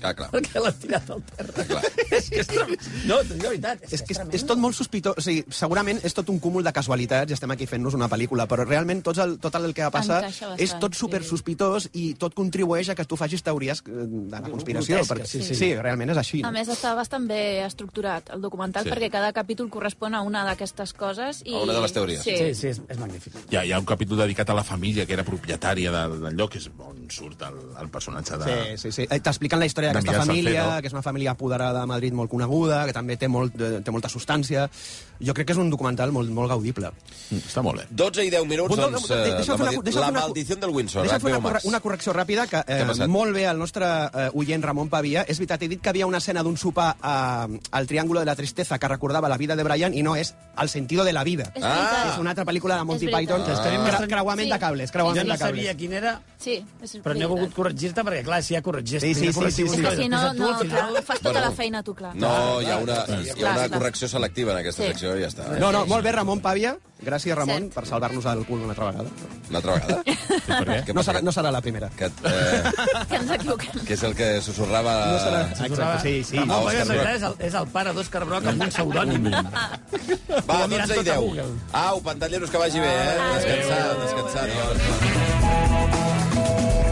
A: Ah, clar.
D: Perquè l'han tirat al terra.
A: Clar.
D: és que és tremendo. No, t'ho dic la veritat. És,
G: És, que és,
D: tremendo.
G: és tot molt sospitós. O sigui, segurament és tot un cúmul de casualitats i estem aquí fent-nos una pel·lícula, però realment tot el, tot el que passa
C: Encaixa bastant,
G: és tot super sospitós i tot contribueix a que tu facis teories eh, de la conspiració.
D: Grotesques, sí,
G: Perquè,
D: sí.
G: sí, realment és així.
C: A més, està bastant bé estructurat el documental
B: Sí.
C: sí. perquè cada capítol correspon a una d'aquestes coses. I...
A: A una de les teories.
D: Sí,
C: Sí. sí.
D: sí, és, és magnífic.
B: Hi ha, hi ha un capítol dedicat a la família que era propietària de, del lloc, que és on surt el, el personatge de...
G: Sí, sí, sí. Eh, T'expliquen la història
B: De
G: d'aquesta
B: Miguel
G: família,
B: Salcedo.
G: que és una família apoderada a Madrid molt coneguda, que també té, molt, eh, té molta substància. Jo crec que és un documental molt, molt gaudible.
B: Mm, Està molt bé.
A: 12 i 10 minuts,
G: Bundó,
A: doncs...
G: de-
A: eh,
G: deixa'm
A: la,
G: fer una-
A: maldi-
G: deixa'm
A: la
G: fer una-
A: maldició del eh, Windsor.
G: Deixa'm fer una,
A: HBO Max.
G: corre, una correcció ràpida, que
A: Què ha
G: eh,
A: passat?
G: molt bé el nostre eh, oient Ramon Pavia. És veritat, he dit que hi havia una escena d'un sopar eh, al Triángulo de la Tristeza que recordava la vida de Brian i no és el sentido de la vida.
C: És
A: Ah.
C: veritat.
G: És una altra pel·lícula de Monty
C: És
G: Python.
C: veritat.
G: que és cre- Creuament
C: Sí.
G: de cables,
D: Jo
G: creuament
D: no
G: de cables.
D: sabia quin era,
C: Sí, és
D: però n'he volgut corregir-te, perquè, clar, si ja corregis...
G: Sí, sí,
D: ja
G: sí,
D: corregiu
G: sí,
C: És
G: sí.
C: que
D: vosaltres,
C: si no,
D: tu
C: no,
D: al final-
C: clar, fas tota la feina tu, clar.
A: No, hi ha una, hi ha una
C: Clar.
A: correcció selectiva en aquesta
C: Sí.
A: secció i ja està.
G: No, no, molt bé, Ramon Pavia. Gràcies, Ramon,
C: Cert.
G: per salvar-nos del cul una altra vegada.
A: Una altra vegada.
B: Sí, per què?
A: Què
G: No
A: passa?
G: serà, no serà la primera.
A: Que, eh,
C: Que ens equivoquem.
A: que és el que susurrava...
G: No serà...
D: Susurrava-
G: Exacte, sí, sí.
D: Ramon
A: Ah,
D: Pavia,
A: Òscar
D: en realitat, és el, és el pare d'Òscar Broc amb un pseudònim.
A: Va,
D: Ho mirat
A: 12 i
D: tot a
A: 10.
D: Google.
A: doncs. Au, pantalleros, que vagi bé, eh? Descansar, descansar. Adéu.